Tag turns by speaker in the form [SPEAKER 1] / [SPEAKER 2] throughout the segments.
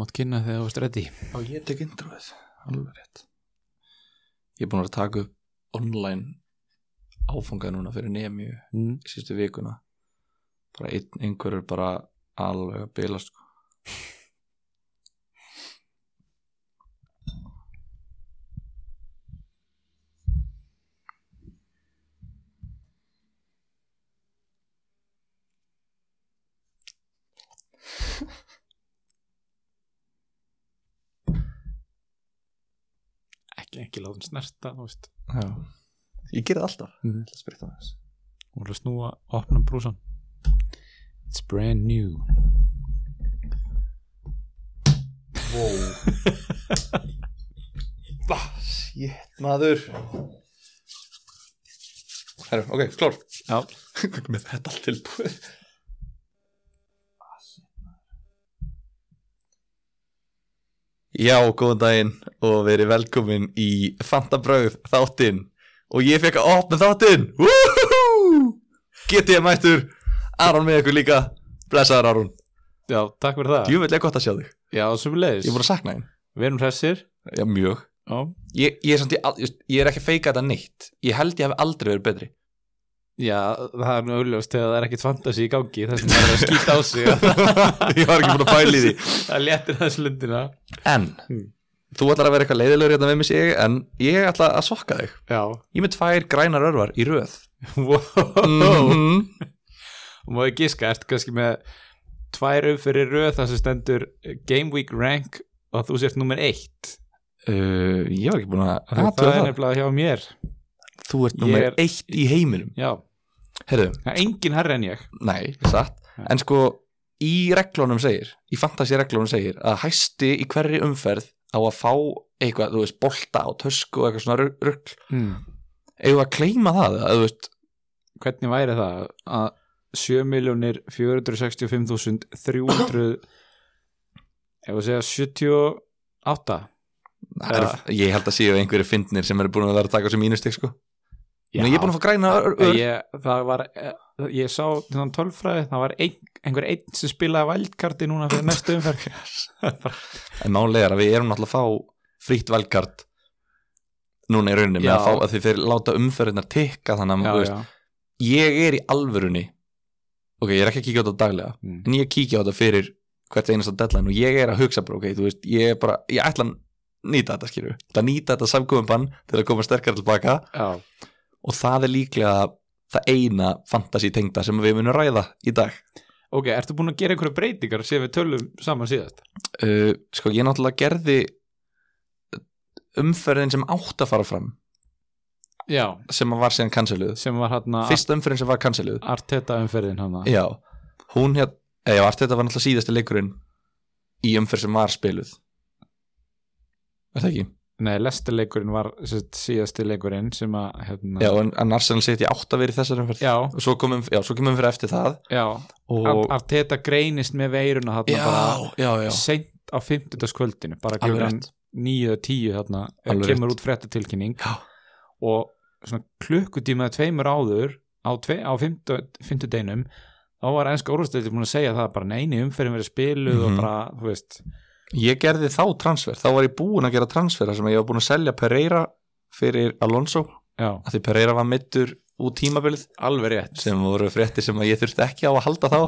[SPEAKER 1] mátt kynna þegar þú veist reddi
[SPEAKER 2] Já, ég tek introið, alveg rétt Ég er búin að taka upp online áfangað núna fyrir nemiu
[SPEAKER 1] mm.
[SPEAKER 2] í sístu vikuna bara einn, einhverjur bara alveg að bila sko
[SPEAKER 1] ekki, ekki látum snerta þú veist
[SPEAKER 2] Já. Ég gerði alltaf
[SPEAKER 1] Mhm.
[SPEAKER 2] Það spritt á þess
[SPEAKER 1] hún er að snúa, opna brúsan it's brand new
[SPEAKER 2] Wow Bah, shit, maður Herru, ok, klár
[SPEAKER 1] já,
[SPEAKER 2] Með þetta allt tilbúið Ah, Já, góðan daginn og verið velkomin í Fantabröð þáttinn og ég fekk að opna þáttinn Woohoo! Getið ég mættur Aron með ykkur líka Blessaður Aron,
[SPEAKER 1] já, takk fyrir það
[SPEAKER 2] djúvill er gott að sjá þig
[SPEAKER 1] já, sem við leiðis,
[SPEAKER 2] Ég er búin að sakna þín
[SPEAKER 1] við erum hressir
[SPEAKER 2] Já, mjög
[SPEAKER 1] já,
[SPEAKER 2] Ég, ég, er samt, ég, al- ég er ekki að feika þetta neitt Ég held ég hef aldrei verið betri
[SPEAKER 1] já það er nú auðljóst þegar það er ekkit fantasi í gangi þess að það er að skýta á sig
[SPEAKER 2] Ég var ekki búin að pæla í því
[SPEAKER 1] það léttir þess lundina
[SPEAKER 2] En
[SPEAKER 1] Mm.
[SPEAKER 2] Þú ætlar að vera eitthvað leiðilegur hérna með mér sig En ég ætla að sokka þig
[SPEAKER 1] já,
[SPEAKER 2] Ég er með tvær grænar örvar í röð
[SPEAKER 1] wow
[SPEAKER 2] Mhm.
[SPEAKER 1] og má ég giska, ertu kannski með tvær umfyrir röð þar sem stendur eh, Game Week Rank og þú sért nummer eitt
[SPEAKER 2] uh, Ég var ekki búin að
[SPEAKER 1] það,
[SPEAKER 2] athuga
[SPEAKER 1] það er nefnilega hjá mér
[SPEAKER 2] Þú ert nummer
[SPEAKER 1] Ég er-
[SPEAKER 2] eitt í heiminum
[SPEAKER 1] já,
[SPEAKER 2] Herðu,
[SPEAKER 1] það er engin herra en ég
[SPEAKER 2] nei, satt
[SPEAKER 1] Ja.
[SPEAKER 2] En sko, í reglunum segir Í fantasi reglunum segir Að hæsti í hverri umferð á að fá eitthvað, þú veist, bolta og tösku og eitthvað svona ru- rugl
[SPEAKER 1] hmm.
[SPEAKER 2] Eða að kleima það, eða, þú veist
[SPEAKER 1] hvernig væri það að 7.465.300 ef við segja 78
[SPEAKER 2] það er, Ég held að séu einhverju fyndnir sem eru búin að vera að taka þessu mínustig, sko
[SPEAKER 1] Já.
[SPEAKER 2] Nei, ég er búin að fá græna ör, ör,
[SPEAKER 1] ég, það var eh, ég sá þannig tölfræði, það var ein, einhver einn sem spilaði vældkarti núna fyrir næstu umferð Bara-
[SPEAKER 2] En málega er að við erum náttúrulega að fá frítt velkart núna í rauninni með
[SPEAKER 1] Já.
[SPEAKER 2] að, fá, að þið fyrir láta umferðinar tikka þannig að þú
[SPEAKER 1] já,
[SPEAKER 2] veist,
[SPEAKER 1] já.
[SPEAKER 2] ég er í alvörunni ok, ég er ekki að kíkja á þetta daglega
[SPEAKER 1] Mm.
[SPEAKER 2] en ég kíkja á þetta fyrir hvert einasta deadline og ég er að hugsa bara, ok, þú veist ég er bara, ég ætla að nýta þetta skýru ætla að nýta þetta samkofinbann til að koma sterkar tilbaka
[SPEAKER 1] já
[SPEAKER 2] og það er líklega það eina fantasi tengda sem við munum ræða í dag
[SPEAKER 1] Ok, ertu búin að gera einhverju breytingar sem við tölum saman síðast?
[SPEAKER 2] uh, sko, ég náttúrulega gerði uh, umferðin sem átt að fara fram
[SPEAKER 1] Já,
[SPEAKER 2] sem að var síðan canceluð
[SPEAKER 1] sem var hann að
[SPEAKER 2] fyrsta umferðin sem var canceluð
[SPEAKER 1] Arteta umferðin hann að
[SPEAKER 2] já, hún hér eða allt þetta var náttúrulega síðasti leikurinn í umferð sem var spiluð er það ekki?
[SPEAKER 1] Nei, lestarleikurinn var sérst, síðasti leikurinn sem að hérna,
[SPEAKER 2] já, en, en Arsenal seti átt að vera í þessar umferð
[SPEAKER 1] já,
[SPEAKER 2] og svo komum, já, svo komum fyrir eftir það
[SPEAKER 1] já.
[SPEAKER 2] og,
[SPEAKER 1] Ar- Arteta greinist með veiruna hann
[SPEAKER 2] já,
[SPEAKER 1] bara
[SPEAKER 2] já, já
[SPEAKER 1] seint á 50. kvöldinu bara
[SPEAKER 2] Alveg
[SPEAKER 1] klukkan
[SPEAKER 2] rétt.
[SPEAKER 1] 9 og 10 þarna, eh,
[SPEAKER 2] Alveg
[SPEAKER 1] kemur
[SPEAKER 2] rétt.
[SPEAKER 1] út fréttatilkynning
[SPEAKER 2] Já.
[SPEAKER 1] og svona klukkutímaði tveimur áður á, tve, á 50 deinum þá var ennska úrvastöldi búin að segja það bara neini umferðin verið spiluð
[SPEAKER 2] Mhm.
[SPEAKER 1] og bara, þú veist
[SPEAKER 2] ég gerði þá transfer, þá var ég búin að gera transfer þar sem ég var búin að selja Pereira fyrir Alonso,
[SPEAKER 1] já.
[SPEAKER 2] að því Pereira var mittur út tímabilið
[SPEAKER 1] Alveg rétt
[SPEAKER 2] sem voru frétti sem að ég þurfti ekki á að halda þá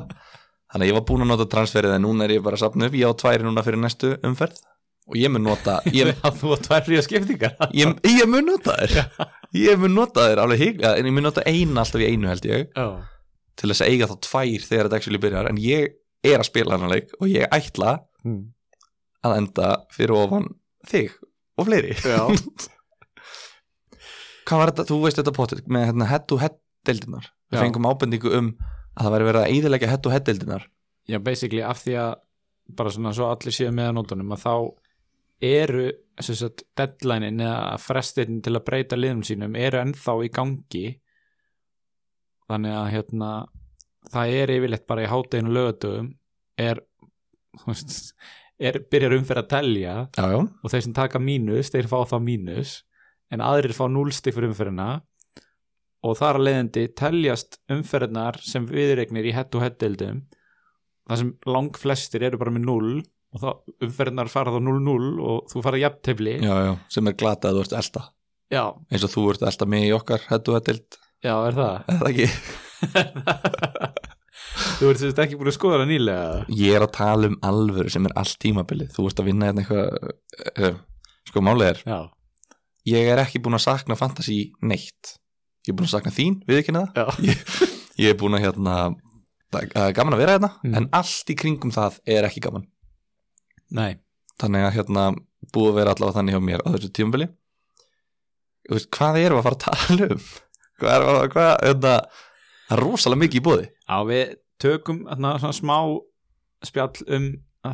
[SPEAKER 2] þannig að ég var búin að nota transferið en núna er ég bara að sapna upp, ég á tværi núna fyrir næstu umferð og ég mun nota ég,
[SPEAKER 1] að þú átt tvær fríja skiptingar
[SPEAKER 2] ég, ég mun nota þér ég mun nota þér alveg hík en ég mun nota eina alltaf í einu held ég
[SPEAKER 1] Já,
[SPEAKER 2] til þess að eiga þá tvær þegar þetta actually byrjar en ég er að spila hann leik og ég ætla
[SPEAKER 1] Mm.
[SPEAKER 2] að enda fyrir ofan þig og fleiri
[SPEAKER 1] já.
[SPEAKER 2] hvað var þetta, þú veist þetta potið með hérna head to head deildinar við
[SPEAKER 1] Já.
[SPEAKER 2] fengum ábendingu um að það væri verið að eyðilegja head to head deildinar
[SPEAKER 1] já, basically af því að bara svona svo allir séu með að nótunum að þá eru sem sagt, deadline-in eða frestin til að breyta liðum sínum eru ennþá í gangi þannig að hérna það er yfirleitt bara í hátæginu lögutum er, þú veist, er byrjar umferð að telja
[SPEAKER 2] já, já,
[SPEAKER 1] og þeir sem taka mínus, þeir fá þá mínus en aðrir fá núlstig fyrir umferðina og þar að leiðandi teljast umferðinar sem viðregnir í hett og hett deildum þar sem lang flestir eru bara með núl og þá umferðnar fara þá 0-0 og þú farið jafntefli
[SPEAKER 2] já, já, sem er glata að þú ert elda
[SPEAKER 1] já,
[SPEAKER 2] eins og þú ert elda mig í okkar hættu að dild,
[SPEAKER 1] já, er það
[SPEAKER 2] er það ekki
[SPEAKER 1] þú ert sérst ekki búin að skoða það nýlega eða?
[SPEAKER 2] ég er að tala um alvöru sem er allt tímabilið þú ert að vinna hérna eitthvað uh, sko málið er,
[SPEAKER 1] já,
[SPEAKER 2] ég er ekki búin að sakna fantasy neitt ég er búin að sakna þín, við ekki neða
[SPEAKER 1] já,
[SPEAKER 2] ég er búin að hérna það er gaman að vera hérna,
[SPEAKER 1] Mm.
[SPEAKER 2] en allt í kringum það er ekki gaman
[SPEAKER 1] nei
[SPEAKER 2] þannig að hérna búið að vera allavega þannig hjá mér á þessu tímabili Þú veist, hvað erum við að fara að tala um hvað erum við að, hvað, hérna það er rosalega mikið í bóði
[SPEAKER 1] já, við tökum þarna, svona smá spjall um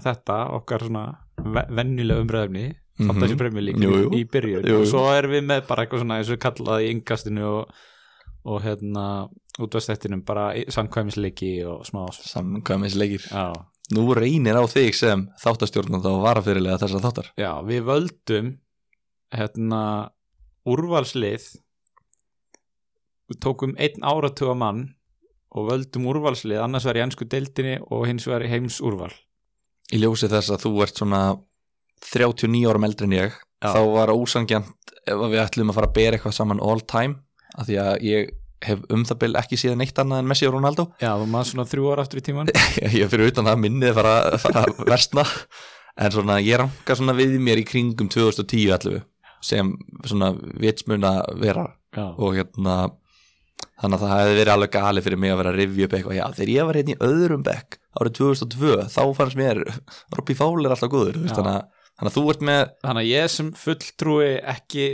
[SPEAKER 1] þetta okkar svona ve- venjulega umræðumni Fantasy Premier League
[SPEAKER 2] Mhm. Jú, jú.
[SPEAKER 1] í byrjun
[SPEAKER 2] Jú, jú.
[SPEAKER 1] og svo erum við með bara eitthvað svona eins og kallað í yngastinu og, og hérna útvastættinum bara í- samkvæmisleiki og smá
[SPEAKER 2] samkvæmisleikir
[SPEAKER 1] já,
[SPEAKER 2] nú reynir á þig sem þáttastjórnanda og varafyrirlega þessar þáttar
[SPEAKER 1] já, við völdum hérna úrvalslið við tókum einn áratuga mann og völdum úrvalslið annars var í ennsku deildinni og hins var í heims úrval
[SPEAKER 2] í ljósi þess að þú ert svona 39 árum eldri en ég
[SPEAKER 1] Já.
[SPEAKER 2] þá var ósangjant ef við ætlum að fara að bera eitthvað saman all time af því að ég hef um það bil ekki síðan eitt annað en Messi og Ronaldo
[SPEAKER 1] já, þú maður svona þrjú ára aftur í tíman
[SPEAKER 2] ég er fyrir utan að minnið fara fara að versna en svona ég ranka svona við mér í kringum 2010 allavega sem svona vitsmuna vera
[SPEAKER 1] já,
[SPEAKER 2] og hérna þannig að það hefði verið alveg gali fyrir mig að vera að rifja upp eitthvað, já þegar ég var hérna í öðrum bekk árið 2002, þá fannst mér Robby Fowler alltaf góður þú veist,
[SPEAKER 1] Já.
[SPEAKER 2] þannig, að, þannig að þú ert með
[SPEAKER 1] þannig að ég sem fulltrúi ekki,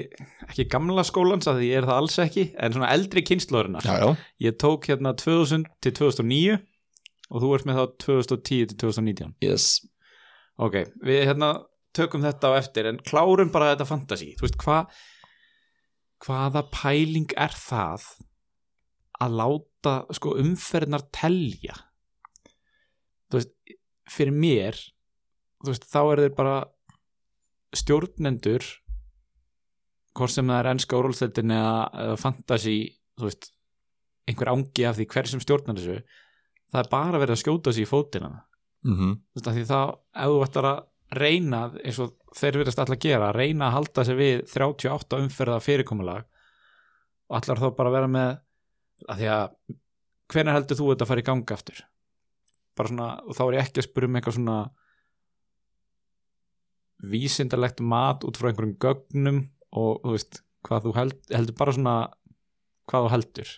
[SPEAKER 1] ekki gamla skólans að því ég er það alls ekki en svona eldri kynnslóðurinnar
[SPEAKER 2] já,
[SPEAKER 1] ég tók hérna 2000 til 2009 og þú ert með þá 2010 til 2019
[SPEAKER 2] yes,
[SPEAKER 1] ok, við hérna tökum þetta á eftir en klárum bara þetta fantasy þú veist hvað hvaða pæling er það að láta sko umferðnar telja þú veist fyrir mér þú veist þá er þeir bara stjórnendur hvort sem það er ennska úrvalstældin eða, eða fantasy þú veist einhver ángi af því hver sem stjórnar þessu það er bara verið að skjóta sig í fótina
[SPEAKER 2] mm
[SPEAKER 1] þú veist að því þá ef þú ætlar að reyna eins og þeir virðast alltaf að gera reyna að halda sig við 38 umferða fyrirkomulag og allar þá bara að vera með að því að hvenær heldur þú þetta að fara í ganga aftur bara svona og þá er ég ekki að spyrja um eitthvað svona vísindalegt mat út frá einhverjum gögnum og þú veist hvað þú held, heldur bara svona hvað þú heldur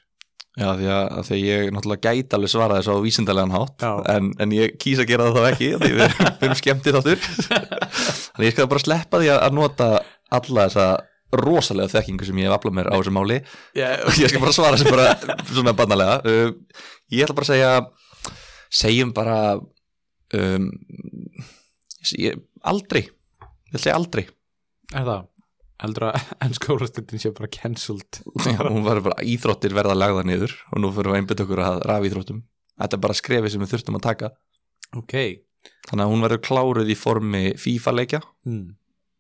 [SPEAKER 2] já því að, að því að ég náttúrulega gæti alveg svara þessu á vísindalegan hátt
[SPEAKER 1] Já.
[SPEAKER 2] en, en ég kýsa að gera það þá ekki því við, við erum skemmtir þáttur þannig ég skal bara sleppa því að, að nota alla þessa rosalega þekkingu sem ég hef aflað mér á þessu máli
[SPEAKER 1] yeah,
[SPEAKER 2] ég skal bara svara sem bara svona bannalega uh, ég ætla bara að segja segjum bara um, ég, aldrei ég ætla að segja aldrei
[SPEAKER 1] er það heldur að ennska úrvastildin sé bara cancelled
[SPEAKER 2] hún var bara íþróttir verða lagða niður og nú fyrir við að einbytta okkur að rafíþróttum þetta er bara skrefið sem við þurftum að taka
[SPEAKER 1] ok
[SPEAKER 2] þannig að hún verður kláruð í formi FIFA leikja
[SPEAKER 1] hmm.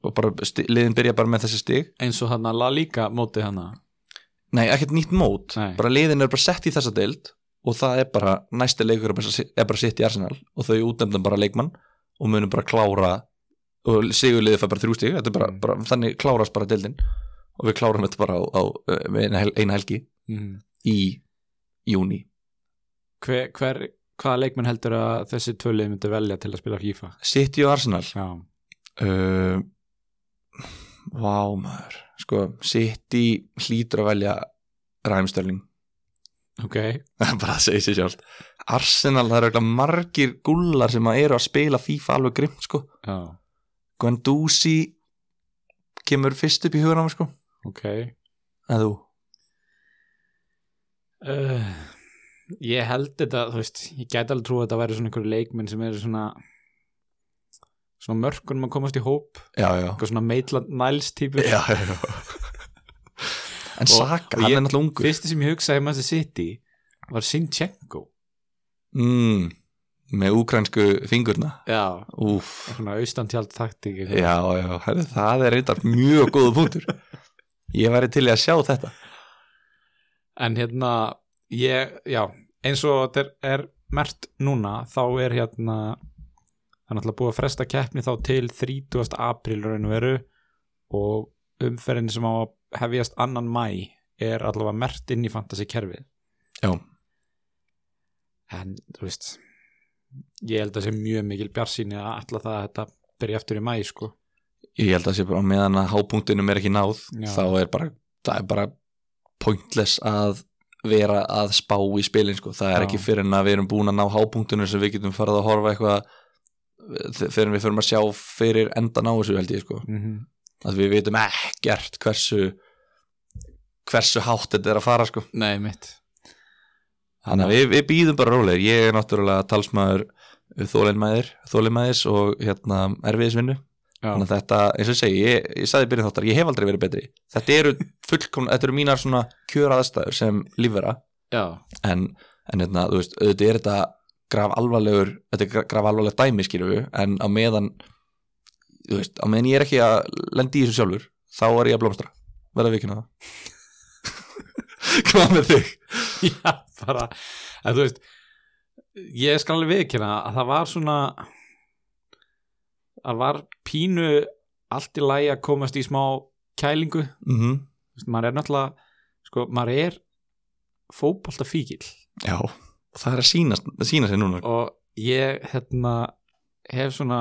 [SPEAKER 2] og bara sti- liðin byrja bara með þessi stig
[SPEAKER 1] eins og hann að La Liga móti hann
[SPEAKER 2] nei, ekkert nýtt mót,
[SPEAKER 1] Nei.
[SPEAKER 2] bara liðin er bara sett í þessa deild og það er bara næsti leikur er bara- er bara sitt í Arsenal og þau útnefndan bara leikmann og munum bara klára og sigur liðið fær bara þrjú stig þetta er bara,
[SPEAKER 1] Mm.
[SPEAKER 2] bara, þannig klárast bara deildin og við klárum þetta bara á, á um, eina, hel, eina helgi
[SPEAKER 1] mm.
[SPEAKER 2] í júni,
[SPEAKER 1] hver, hver, hvaða leikmenn heldur að þessi tvölið myndi velja til að spila FIFA
[SPEAKER 2] sitt í Arsenal
[SPEAKER 1] já,
[SPEAKER 2] uh, vá maður sko, sitt í hlýtur að velja ræmstörling
[SPEAKER 1] ok
[SPEAKER 2] Það er bara að segja sér sjálft Arsenal, það eru eitthvað margir gullar sem að eru að spila FIFA alveg grimt sko
[SPEAKER 1] já,
[SPEAKER 2] Guendouzi kemur fyrst upp í hugan á mig sko
[SPEAKER 1] ok
[SPEAKER 2] En þú?
[SPEAKER 1] uh, ég held þetta þú veist, ég gæti alveg trú að þetta væri svona einhverju leikmenn sem eru svona svona mörkunum að komast í hóp
[SPEAKER 2] Já, já
[SPEAKER 1] eitthvað svona Maitland Niles típur
[SPEAKER 2] Já, já, já En
[SPEAKER 1] Og-
[SPEAKER 2] Saka,
[SPEAKER 1] og
[SPEAKER 2] hann
[SPEAKER 1] ég-
[SPEAKER 2] er náttúrulega ungur
[SPEAKER 1] fyrsti sem ég hugsaði með þessi City var Sinchenko
[SPEAKER 2] mm, Með úkransku fingurna
[SPEAKER 1] já,
[SPEAKER 2] Úff
[SPEAKER 1] svona austantjald taktík eitthvað.
[SPEAKER 2] Já, já, herri, það er reyndar mjög góða punktur Ég væri til í að sjá þetta
[SPEAKER 1] en hérna ég, já, eins og þetta er, er mert núna þá er hérna það er náttúrulega búið að fresta keppni þá til 30. apríl raun og veru og umferðin sem á að hefjast annan mæ er allavega mert inn í fantasy kerfið
[SPEAKER 2] Já.
[SPEAKER 1] en þú veist ég held að sé mjög mikil bjarsýni að alla það að þetta byrja aftur í mæ sko
[SPEAKER 2] ég held að það sé bara á meðan að hápunktinum er ekki náð
[SPEAKER 1] Já.
[SPEAKER 2] þá er bara, það er bara pointless að vera að spá í spilin sko. það er
[SPEAKER 1] Já.
[SPEAKER 2] ekki fyrir en að við erum búin að ná hápunktunum sem við getum farið að horfa eitthvað fyrir við förum að sjá fyrir endan á þessu held ég sko.
[SPEAKER 1] mm -hmm.
[SPEAKER 2] að við vitum ekkert hversu hversu hátt þetta er að fara sko.
[SPEAKER 1] Nei, mitt
[SPEAKER 2] þannig að við, við býðum bara rólegir ég er náttúrulega talsmaður þólinmæðir, þólinmæðis og hérna erfiðisvinnu þannig
[SPEAKER 1] já,
[SPEAKER 2] að þetta, eins og ég segi, ég, ég sagði í byrjun þáttar ég hef aldrei verið betri, þetta eru fullkomna þetta eru mínar svona kjöraðastæður sem lífvera,
[SPEAKER 1] já,
[SPEAKER 2] en, en hérna, þú veist, auðvitað er þetta graf alvarlegur, þetta er graf alvarleg dæmi skilur við, en á meðan þú veist, á meðan ég er ekki að lendi í þessu sjálfur, þá er ég að blómstra verða við ekki náða hvað með þig?
[SPEAKER 1] já bara, að þú veist ég skal alveg viðkynna að það var svona það var pínu allt í lagi að komast í smá kælingu,
[SPEAKER 2] Mm
[SPEAKER 1] Þú veist, maður er náttúrulega sko, maður er fótbolta fíkil
[SPEAKER 2] Já, og það er að sýnast, að sýna sér núna
[SPEAKER 1] og ég hérna hef svona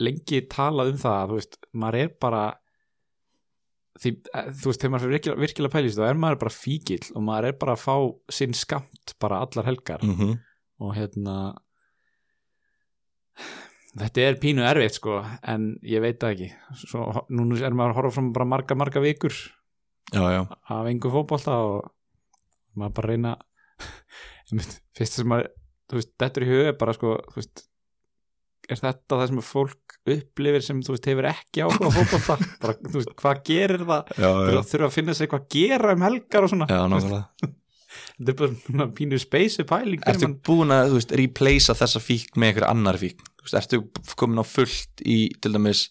[SPEAKER 1] lengi talað um það að, þú veist, maður er bara því, eh, þú veist, þegar maður fyrir virkilega, virkilega pælist þá er maður bara fíkil og maður er bara að fá sinn skamt bara allar helgar
[SPEAKER 2] mm -hmm.
[SPEAKER 1] og hérna þetta er pínu erfitt sko en ég veit það ekki Svo, núna er maður að horfa fram bara marga marga vikur
[SPEAKER 2] Já, já,
[SPEAKER 1] af engu fótbolta og maður bara reyna einmitt, fyrst sem maður þú veist, dettur í huga er bara sko þú veist, er þetta það sem fólk upplifir sem þú veist hefur ekki áhuga á fótbolta bara, þú veist, hvað gerir það
[SPEAKER 2] já,
[SPEAKER 1] Þú
[SPEAKER 2] já,
[SPEAKER 1] veist, þurfa að finna sér hvað gera um helgar og svona
[SPEAKER 2] já nákvæmlega
[SPEAKER 1] þetta er bara svona pínu space pæling fyrir
[SPEAKER 2] Ertu
[SPEAKER 1] mann.
[SPEAKER 2] búin að, þú veist, replacea þessa fík með einhver annar fík? Þú veist, ertu komin á fullt í, til dæmis,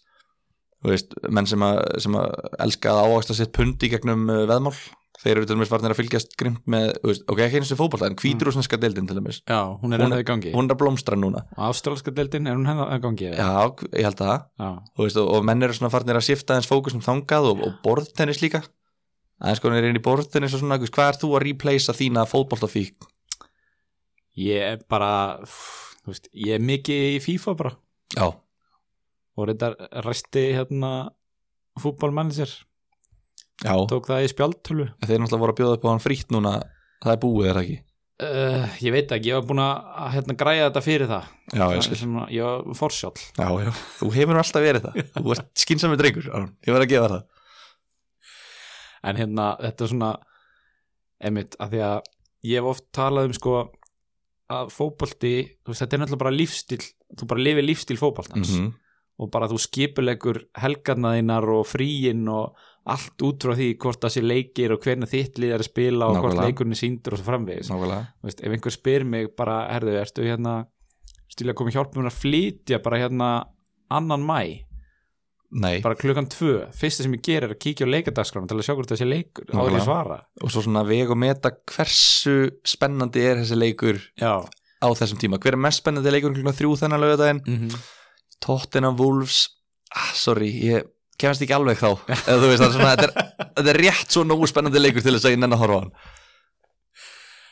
[SPEAKER 2] þú veist, menn sem að, sem að elska að ávægsta sitt pund í gegnum uh, veðmál? Þeir eru til dæmis varnir að fylgjast grimt með, þú veist, ok, ekki eins og fótballa, en hvítur og snarska deildin til dæmis.
[SPEAKER 1] já, hún er
[SPEAKER 2] Hún-
[SPEAKER 1] ennþá í gangi
[SPEAKER 2] Hún er að blómstra núna.
[SPEAKER 1] og ástrálska deildin er hún ennþá í gangi eða?
[SPEAKER 2] Já, ég held að það.
[SPEAKER 1] já,
[SPEAKER 2] Þú veist, og, og menn eru svona farnir að shifta aðeins fókusum þangað og, og borðtennis líka. Aðeins konar er inn í borðtennis og svona, þú veist, hvað er þú að replacea þína fótballtafík?
[SPEAKER 1] ég er bara þú veist, ég er mikið í FIFA bara
[SPEAKER 2] Já,
[SPEAKER 1] og reyndar resti hérna fútbolmanager,
[SPEAKER 2] já.
[SPEAKER 1] tók það í spjaldtölu
[SPEAKER 2] Þeir náttúrulega voru að bjóða upp á hann frýtt núna, það er búið, er það ekki?
[SPEAKER 1] uh, ég veit ekki, ég var búin að hérna, græja þetta fyrir það
[SPEAKER 2] Já, ég
[SPEAKER 1] það,
[SPEAKER 2] skil.
[SPEAKER 1] er svona, ég var forsjál
[SPEAKER 2] Já, já. Þú hefur nú alltaf verið það. Þú ert skinsamur drengur, Aron. Ég var að gefa þér það.
[SPEAKER 1] en hérna, þetta er svona emitt, af því að ég hef oft talað um sko að fótbolti, þú veist, þetta er náttúrulega bara lífstíl þú bara lifir lífstíl
[SPEAKER 2] Mhm.
[SPEAKER 1] fótboltans og bara þú skipulegur helgarnaðinnar og fríinn og allt út frá því hvort það sé leikir og hvernig þitt lið er að spila og hvort
[SPEAKER 2] Nákvæmlega.
[SPEAKER 1] leikurinn er síndur og svo framvegis
[SPEAKER 2] Nákvæmlega.
[SPEAKER 1] Þú veist, ef einhver spyr mig bara, herðu, ertu hérna stíla að koma í hjálp mér að flytja bara hérna annan mæ,
[SPEAKER 2] Nei.
[SPEAKER 1] bara klukkan tvö fyrsta sem ég ger er að kíkja á leikardagskrána til að sjá hvort þessi leikur, áður
[SPEAKER 2] Nákvæmlega.
[SPEAKER 1] ég svara
[SPEAKER 2] Og svo svona veg og meta hversu spennandi er þessi leikur
[SPEAKER 1] já,
[SPEAKER 2] á þessum tíma. Hver er mest spennandi leikur klukkan þrjú þennan lögadaginn?
[SPEAKER 1] mm
[SPEAKER 2] Tottenham Wolves. Ah, sorry, ég kemst ekki alveg þá. Eða þú veist, það er svona, þetta er, þetta er rétt svo nógu spennandi leikur til þess að ég nenni að horfa á hann.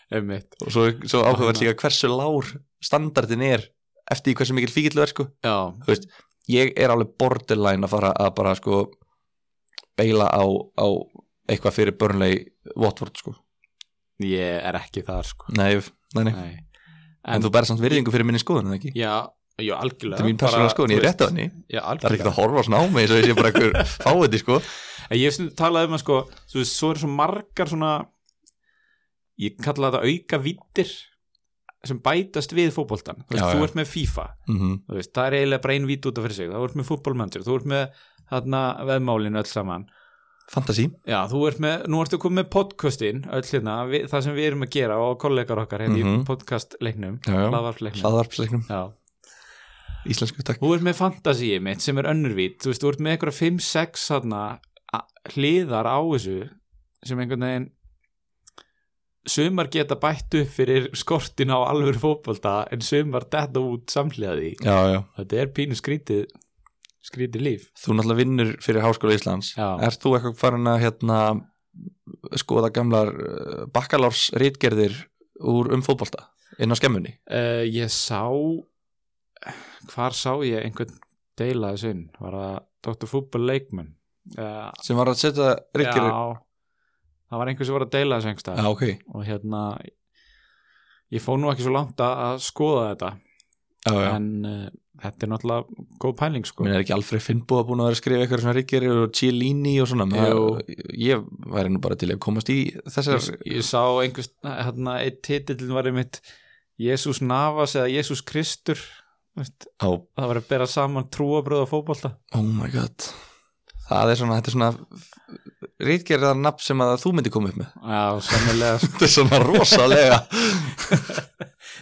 [SPEAKER 1] einmitt
[SPEAKER 2] Og svo, svo áhugavert líka hversu lár standardin er eftir því hversu mikil fíkilu er sko.
[SPEAKER 1] já,
[SPEAKER 2] ég er alveg borderline að fara að bara sko beila á, á eitthvað fyrir börnlegi Watford sko
[SPEAKER 1] ég er ekki þar sko
[SPEAKER 2] nei, nei, nei.
[SPEAKER 1] Nei.
[SPEAKER 2] En, þú berð samt virðingu fyrir minni skoðun eða ekki?
[SPEAKER 1] já, já, algjörlega
[SPEAKER 2] þetta er mín
[SPEAKER 1] bara,
[SPEAKER 2] persónulega skoðun, ég
[SPEAKER 1] þú
[SPEAKER 2] er
[SPEAKER 1] veist,
[SPEAKER 2] rétt af henni
[SPEAKER 1] já,
[SPEAKER 2] það er ekkert
[SPEAKER 1] algjörlega,
[SPEAKER 2] að horfa á svona á mig svo ég sé bara einhver fáiði sko
[SPEAKER 1] En ég hef stundum talað um að sko, þú veist, svo eru svo margar svona ég kalla þetta auka vittir sem bætast við fótboltan þú, veist,
[SPEAKER 2] Já,
[SPEAKER 1] þú
[SPEAKER 2] já.
[SPEAKER 1] ert með FIFA
[SPEAKER 2] mm -hmm.
[SPEAKER 1] þú veist, það er eiginlega bara ein vít út af fyrir sig þú ert með fútbolmöndur, þú ert með þarna veðmálinu öll saman
[SPEAKER 2] fantasi,
[SPEAKER 1] já, þú ert með, nú ertu komið með podcastin öll hérna, við, það sem við erum að gera og kollegar okkar hérna
[SPEAKER 2] Mhm.
[SPEAKER 1] í podcastleiknum
[SPEAKER 2] Já, já.
[SPEAKER 1] hlaðvarpleiknum
[SPEAKER 2] hlaðvarpsleiknum,
[SPEAKER 1] já.
[SPEAKER 2] íslensku takk
[SPEAKER 1] þú ert með fantasíið mitt sem er önnurvít þú veist, þú ert með einhverja 5-6 þarna a- hliðar á þessu sem einhvern veginn sumar geta bætt upp fyrir skortin á alvöru fótbolta en sumar detta út samhliða því
[SPEAKER 2] já, já
[SPEAKER 1] þetta er pínu skrítið skrítið líf
[SPEAKER 2] Þú náttúrulega vinnur fyrir Háskóla Íslands
[SPEAKER 1] Já.
[SPEAKER 2] Ert þú eitthvað farin að hérna, skoða gamlar bakkalárs rítgerðir úr um fótbolta inn á skemmunni?
[SPEAKER 1] uh, ég sá hvar sá ég einhvern deila þessu inn var það Dr. Fútbol Leikmann uh,
[SPEAKER 2] sem var að setja rítgerðir
[SPEAKER 1] já það var einhver sem var að deila þessu einhverstað
[SPEAKER 2] ok
[SPEAKER 1] og hérna ég fór nú ekki svo langt að að skoða þetta
[SPEAKER 2] já, já.
[SPEAKER 1] en uh, þetta er náttúrulega góð pæling sko
[SPEAKER 2] Minn er ekki Alfred Finnbúa búin að vera að skrifa eitthvað svona rítgerðir og Chiellini og svona
[SPEAKER 1] Jú.
[SPEAKER 2] Ég væri nú bara til að komast í þessar
[SPEAKER 1] ég, ég sá einhvers hérna, eitt titillin var einmitt Jésús Navas eða Jésús Kristur veist,
[SPEAKER 2] Ó,
[SPEAKER 1] það var að bera saman trúabröð og fótbolta
[SPEAKER 2] oh my god Það er svona, þetta er svona rítgerðar nafn sem að þú myndi koma upp með
[SPEAKER 1] já, sannilega
[SPEAKER 2] Þetta er svona rosalega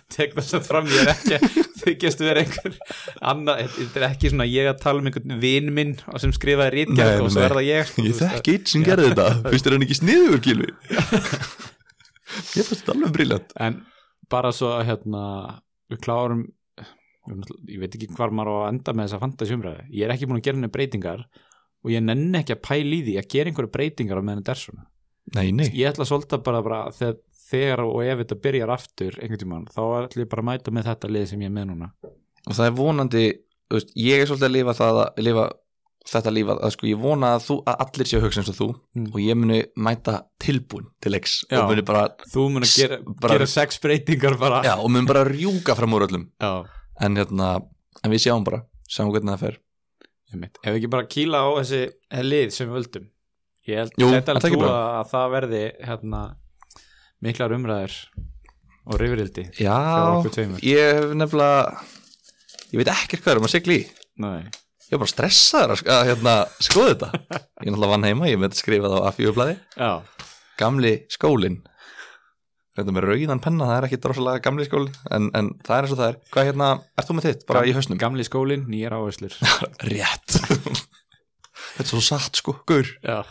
[SPEAKER 1] tek þess að fram ég er ekki þykjast vera einhver annað, þetta er ekki svona ég að tala um einhvern vin minn sem skrifaði
[SPEAKER 2] Nei,
[SPEAKER 1] rítgerð og svo
[SPEAKER 2] nei.
[SPEAKER 1] er það ég sko,
[SPEAKER 2] Ég
[SPEAKER 1] þú veist,
[SPEAKER 2] þekki eitt sem gerði þetta Fyrst er hann ekki sniður, Gilvi Ég fannst þetta alveg briljant
[SPEAKER 1] en bara svo að, hérna við klárum ég veit ekki hvar maður á að enda með þessa fantasjumræði ég er ekki búin að gera henni breytingar og ég nenni ekki að pæla í því að gera einhverju breytingar á meðan þetta er svona
[SPEAKER 2] Nei, nei,
[SPEAKER 1] ég ætla að solta bara, bara þegar, þegar og ef þetta byrjar aftur einhvern tímann þá ætla ég bara að mæta með þetta lið sem ég er með núna
[SPEAKER 2] og það er vonandi þú veist, Ég er svolítið að lifa, það, að, lifa þetta líf að, að sko, ég vona að, þú, að allir séu að hugsa eins og þú
[SPEAKER 1] Mm.
[SPEAKER 2] og ég muni mæta tilbúin til leiks
[SPEAKER 1] Já.
[SPEAKER 2] og muni bara,
[SPEAKER 1] þú mun að gera,
[SPEAKER 2] Bara-
[SPEAKER 1] gera sex breytingar bara
[SPEAKER 2] já, og muni bara rjúka fram úr öllum
[SPEAKER 1] Já,
[SPEAKER 2] en, hérna, en við sjáum bara, sjáum hvernig það fer
[SPEAKER 1] einmitt. ef við ekki bara kýla á þessi eh, lið sem við völdum ég held
[SPEAKER 2] Jú,
[SPEAKER 1] þetta
[SPEAKER 2] er það
[SPEAKER 1] alveg
[SPEAKER 2] ekki
[SPEAKER 1] trú
[SPEAKER 2] bara?
[SPEAKER 1] að það verði hérna, miklar umræður og rifrildi hjá
[SPEAKER 2] Já,
[SPEAKER 1] okkur tveimur
[SPEAKER 2] ég hef nefnilega ég veit ekkert hvað er um að sigla í
[SPEAKER 1] Nei.
[SPEAKER 2] ég var bara stressaður að, sk- að hérna, skoða þetta ég náttúrulega vann heima, ég með þetta skrifað á A4-blaði
[SPEAKER 1] Já,
[SPEAKER 2] gamli skólin þetta með rauðan penna, það er ekki drossalega gamli skóli en, en það er eins og það er hvað hérna, ert þú með þitt, bara í hausnum?
[SPEAKER 1] gamli skólinn, nýjar áherslur
[SPEAKER 2] Rétt Þetta er svo satt sko, gaur
[SPEAKER 1] Já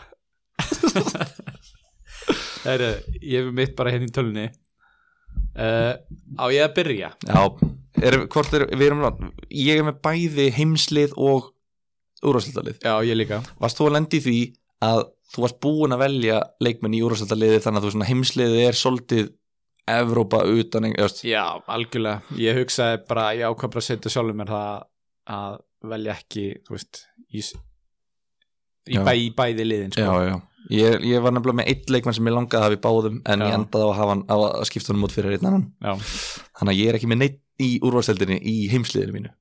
[SPEAKER 1] Það er, ég hef mitt bara hérna í tölunni uh, Á ég að byrja
[SPEAKER 2] Já, er, hvort er, við erum ég er með bæði heimslið og úrvarsleitalið
[SPEAKER 1] Já, ég líka
[SPEAKER 2] Varst þú að lendi því að þú varst búin að velja leikmenn í úrvarsleitalið þannig að þú svona heimsliðið er soldið Evrópa utan, eða, sko, veist,
[SPEAKER 1] Já, algjörlega, ég hugsaði bara ég ákvað bara að setja sjálfur mér það að velja ekki, þú veist í, s- í,
[SPEAKER 2] Já.
[SPEAKER 1] bæ, í bæði liðin sko.
[SPEAKER 2] Já, já. Ég, ég var nefnilega með eitt leikmann sem ég langaði að hafa í báðum en
[SPEAKER 1] Já.
[SPEAKER 2] ég endaði á að, hafa, hann- á að skipta hann út fyrir einn annan
[SPEAKER 1] Já.
[SPEAKER 2] þannig að ég er ekki með neitt í úrvarseldinni í heimsliðinu mínu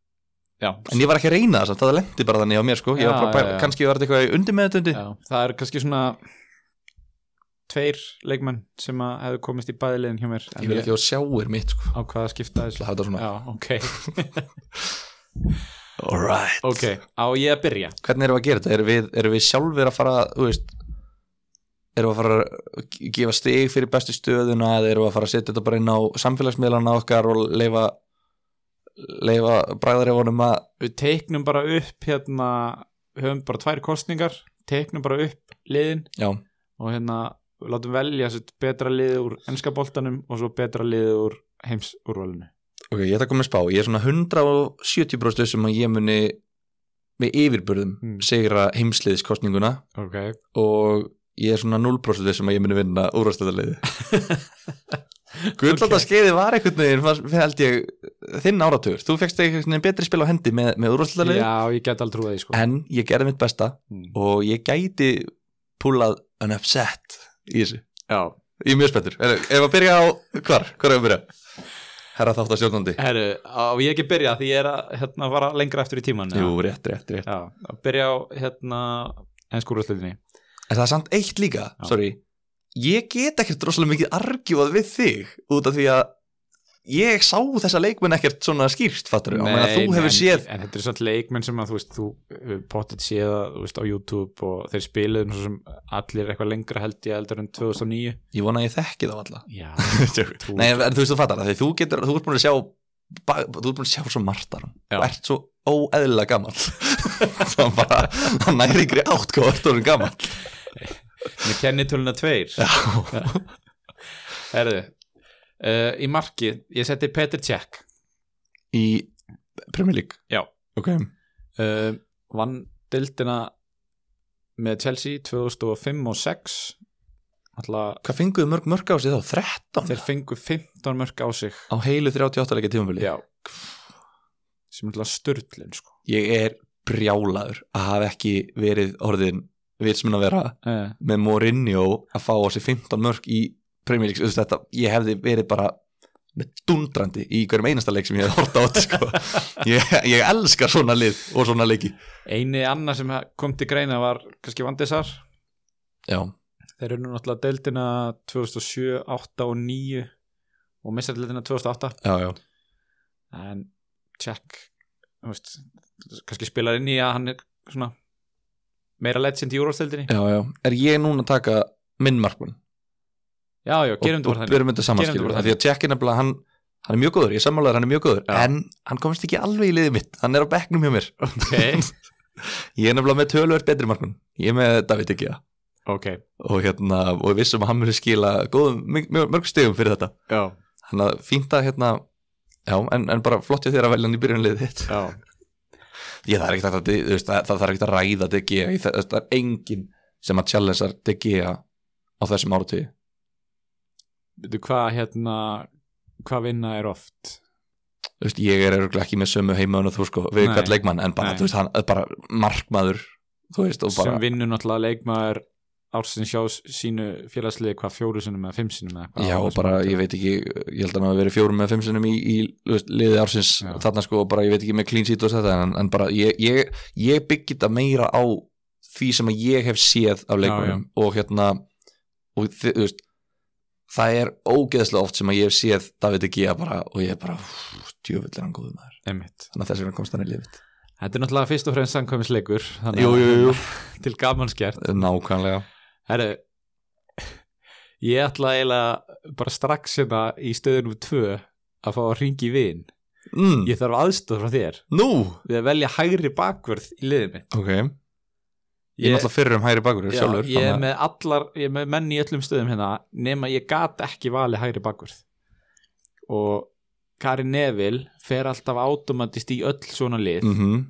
[SPEAKER 1] Já.
[SPEAKER 2] en ég var ekki að reyna það samt, það lendi bara þannig á mér sko. ég
[SPEAKER 1] Já,
[SPEAKER 2] var bara,
[SPEAKER 1] já, já.
[SPEAKER 2] kannski var þetta eitthvað í undir með þetta undir
[SPEAKER 1] Já, það er kannski svona tveir leikmenn sem að hefðu komist í bæði liðin hjá mér
[SPEAKER 2] ég vil ekki að sjáir mitt sko.
[SPEAKER 1] ákvað að skipta þessu
[SPEAKER 2] Það hafa þetta svona,
[SPEAKER 1] Já, ok,
[SPEAKER 2] alright
[SPEAKER 1] ok, á ég að byrja
[SPEAKER 2] hvernig erum við að gera þetta? Erum við, erum við sjálfur að fara þú veist, erum við að fara að ge- gefa stig fyrir bestu stöðuna eða erum við að fara að setja þetta bara inn á samfélagsmiðlana okkar og leifa leifa bræðarefunum að
[SPEAKER 1] Við teiknum bara upp hérna, við höfum bara tvær kostningar teiknum bara upp liðin
[SPEAKER 2] já,
[SPEAKER 1] og hérna við látum velja sitt betra liðið úr ennska boltanum og svo betra liðið úr heims úrvalinu
[SPEAKER 2] ok, ég ætla að koma með spá ég er svona 170 bróstu sem að ég muni með yfirburðum
[SPEAKER 1] Mm.
[SPEAKER 2] segra heimsliðskostninguna
[SPEAKER 1] ok,
[SPEAKER 2] og ég er svona 0 bróstu sem að ég muni vinna úrvastæðarliði Guðlanda okay. skeiði var einhvern veginn fannst- held ég, þinn áratugur þú fegst einhvern veginn betri spil á hendi með, með úrvastæðarliði
[SPEAKER 1] já ég get aldrei trúið því sko
[SPEAKER 2] en ég gerði mitt besta
[SPEAKER 1] Mm.
[SPEAKER 2] og ég gæti púlað an upset í þessu
[SPEAKER 1] já,
[SPEAKER 2] ég er mjög spenntur, Heyrðu, ef að byrja á hvar, hvar er að byrja? herra þáttastjórnandi
[SPEAKER 1] herru, á ég ekki byrja því ég er að hérna, fara lengra eftir í tíman
[SPEAKER 2] jú, rétt, rétt, rétt
[SPEAKER 1] já, að byrja á hérna ennsku úrvalinu
[SPEAKER 2] En það er samt eitt líka,
[SPEAKER 1] Já.
[SPEAKER 2] sorry Ég get ekkert droslega mikið argjúað við þig út af því að ég sá þessa leikmenn ekkert svona skýrt fattur, á meðan að þú hefur
[SPEAKER 1] en,
[SPEAKER 2] séð
[SPEAKER 1] en þetta er samt leikmenn sem að þú veist þú uh, pottet séð að, þú veist, á YouTube og þeir spiluðum svo sem allir eitthvað lengra held ég heldur en 2009
[SPEAKER 2] Ég vona að ég þekki þá alla
[SPEAKER 1] já, trú,
[SPEAKER 2] Nei, en þú veist þú fattar það, því þú getur þú ert búin að sjá, ba- þú ert búin að sjá svo margt af hann,
[SPEAKER 1] Já.
[SPEAKER 2] þú ert svo óeðlilega gammal það er bara, það næri yngri átt hvað þú ert orðin gammal
[SPEAKER 1] með kennitöluna tveir
[SPEAKER 2] Já,
[SPEAKER 1] Herðu, uh, í markið, ég seti Petr Cech
[SPEAKER 2] Í Premier League?
[SPEAKER 1] Já.
[SPEAKER 2] Ok
[SPEAKER 1] uh, vann dildina með Chelsea 2005 og 6 alltaf
[SPEAKER 2] Hvað fenguðu mörg mörg á sig þá? 13?
[SPEAKER 1] þeir fengu 15 mörg á sig
[SPEAKER 2] Á heilu 38 leikja tímafili?
[SPEAKER 1] já sem er alltaf störtlun sko
[SPEAKER 2] Ég er brjálaður að hafa ekki verið orðin vilsmenn að vera
[SPEAKER 1] uh,
[SPEAKER 2] með Mourinho að fá á sig 15 mörg í Premier League, þú veist þetta, ég hefði verið bara með dundrandi í hverjum einasta leik sem ég hefði horta á þetta sko. ég, ég elskar svona lið og svona leiki
[SPEAKER 1] eini annar sem kom til greina var kannski Vandisar
[SPEAKER 2] já,
[SPEAKER 1] þeir eru nú náttúrulega deildina 2007, 8 og 9 og missar deildina 2008
[SPEAKER 2] já, já,
[SPEAKER 1] en Jack þú veist, kannski spilar inn í að hann er svona meira legend í úrvalstildinni
[SPEAKER 2] já, já. er ég núna að taka minn markmann
[SPEAKER 1] já, já,
[SPEAKER 2] og,
[SPEAKER 1] gerum þú
[SPEAKER 2] og
[SPEAKER 1] bara þannig
[SPEAKER 2] byrjum þetta saman
[SPEAKER 1] Gerum þetta
[SPEAKER 2] skilur
[SPEAKER 1] bara
[SPEAKER 2] því að Jack er nefnilega, hann, hann er mjög góður ég er sammálaður, hann er mjög góður,
[SPEAKER 1] Já.
[SPEAKER 2] en hann komst ekki alveg í liðið mitt, hann er á bekknum hjá mér
[SPEAKER 1] Ok.
[SPEAKER 2] ég er nefnilega með töluvert betri markmann ég er með David ekki
[SPEAKER 1] ok,
[SPEAKER 2] og hérna, og við vissum að hann mjög skila góðum, mjög, mjög, mörg stegum fyrir þetta
[SPEAKER 1] já,
[SPEAKER 2] þannig að fínt að hérna já, en, en bara flott ég þér að velja hann í byrjunlið þitt
[SPEAKER 1] já
[SPEAKER 2] ég það er ekkert að, þú veist, það, það þarf ekkert að ræða DG, ég, það, það er enginn sem að challengear DG á þessum áratí
[SPEAKER 1] veitu hvað hérna hvað vinna er oft
[SPEAKER 2] þú veist, ég er örgulega ekki með sömu heimaðun og þú sko, við
[SPEAKER 1] Nei.
[SPEAKER 2] erum hvert leikmann en bara,
[SPEAKER 1] Nei.
[SPEAKER 2] þú veist, hann er bara markmaður þú veist, og bara
[SPEAKER 1] sem vinnur náttúrulega leikmaður ársins hjá sínu félagsliði hvað fjóru sinum eða fimm sinum eða hvað
[SPEAKER 2] Já, og bara, ég veit ekki, ég held að hann hafi verið fjórum með fimm sinnum í, í þú veist, liði ársins
[SPEAKER 1] Já.
[SPEAKER 2] þarna sko, og bara ég veit ekki með clean sheet og þetta en, en bara, ég, ég, ég byggi þetta meira á því sem að ég hef séð af leikmannum og hérna og þi- þú veist það er ógeðslega oft sem að ég hef séð David Egea bara og ég er bara djöfull er hann góður maður,
[SPEAKER 1] Einmitt.
[SPEAKER 2] þannig að þess vegna komst hann í lifið
[SPEAKER 1] þetta er náttúrulega fyrst og fremst samkvæmisleikur þannig
[SPEAKER 2] Jú,
[SPEAKER 1] að-
[SPEAKER 2] jú, jú,
[SPEAKER 1] til gamanskjart
[SPEAKER 2] nákvæmlega
[SPEAKER 1] herru ég ætla eiginlega bara strax hérna í stöðunum 2 að fá að ringi í vin
[SPEAKER 2] mm,
[SPEAKER 1] ég þarf aðstoð frá þér
[SPEAKER 2] Nú,
[SPEAKER 1] við að velja hægri bakvörð í liðið mitt
[SPEAKER 2] ok, ég, er náttúrulega fyrir um hægri bakur
[SPEAKER 1] já,
[SPEAKER 2] sjálfur,
[SPEAKER 1] ég er
[SPEAKER 2] þannig að-
[SPEAKER 1] með allar ég er með menn í öllum stöðum hérna nema ég gat ekki valið hægri bakvörð og Karin Neville fer alltaf automatist í öll svona lið
[SPEAKER 2] Mhm,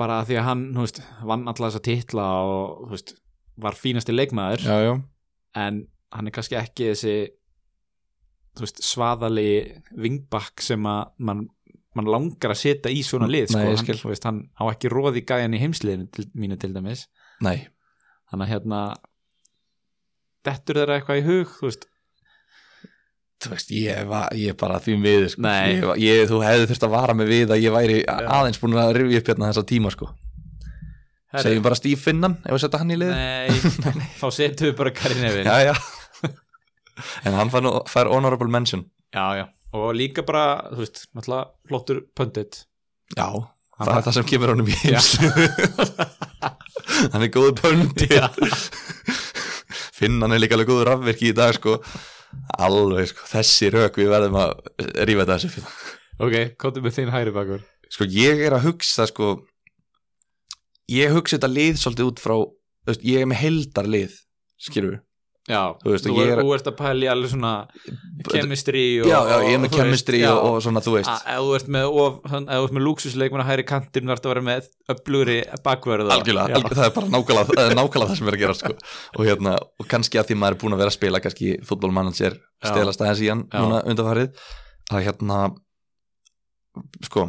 [SPEAKER 1] bara af því að hann þú veist, vann alltaf þessa titla og þú veist, var fínasti leikmaður
[SPEAKER 2] já, já
[SPEAKER 1] en hann er kannski ekki þessi þú veist, svaðalegi vingbakk sem að mann man langar að setja í svona lið
[SPEAKER 2] Nei,
[SPEAKER 1] sko.
[SPEAKER 2] ég
[SPEAKER 1] hann,
[SPEAKER 2] skil.
[SPEAKER 1] þú veist, hann á ekki róði gæjan í heimsliðinu til, mínu til dæmis
[SPEAKER 2] Nei,
[SPEAKER 1] þannig að hérna dettur þeirra eitthvað í hug þú veist,
[SPEAKER 2] þú veist, ég var, ég bara því miður sko.
[SPEAKER 1] Nei.
[SPEAKER 2] ég, var- ég, þú hefði þurft að vara mig við að ég væri a-
[SPEAKER 1] Já.
[SPEAKER 2] aðeins búin að rifja upp hérna þessa tíma sko.
[SPEAKER 1] herri,
[SPEAKER 2] segjum bara Steve Finnan ef við setja hann í lið
[SPEAKER 1] nei, þá setjum við bara Karin Evin já.
[SPEAKER 2] já, já. en hann fær, nú- fær honorable mention
[SPEAKER 1] já, og líka bara, þú veist, náttúrulega flottur pöndit
[SPEAKER 2] já,
[SPEAKER 1] Hann
[SPEAKER 2] það
[SPEAKER 1] fær-
[SPEAKER 2] er það sem kemur honum í heimslu hann er góð pöndi Finnan er líka alveg góður rafverki í dag sko. alveg, sko. þessi rök við verðum að rífa þetta þessu
[SPEAKER 1] ok, komdu með þinn hægri bakur
[SPEAKER 2] sko ég er að hugsa sko ég hugsa þetta lið svolítið út frá þú veist, ég er með heldar lið skilur
[SPEAKER 1] já,
[SPEAKER 2] Þú
[SPEAKER 1] þú,
[SPEAKER 2] veist, og ég
[SPEAKER 1] er,
[SPEAKER 2] er-
[SPEAKER 1] þú ert að pæla í alveg svona kemistri
[SPEAKER 2] já,
[SPEAKER 1] og,
[SPEAKER 2] já, ég er með
[SPEAKER 1] þú veist,
[SPEAKER 2] chemistry
[SPEAKER 1] já.
[SPEAKER 2] og, og svona þú
[SPEAKER 1] að
[SPEAKER 2] veist
[SPEAKER 1] ef þú ert með, of- þann- ef þú ert með luxusleikmann á hægri kantin þarf að vera með öflugri bakverð
[SPEAKER 2] algjörlega, algjörlega, það er bara nákvæmlega, það er nákvæmlega það sem er að gera sko. og, hérna, og kannski að því maður er búin að vera að spila kannski fútbolmanager
[SPEAKER 1] Já.
[SPEAKER 2] stelast aðeins í hann
[SPEAKER 1] Já.
[SPEAKER 2] núna undanfarið að hérna sko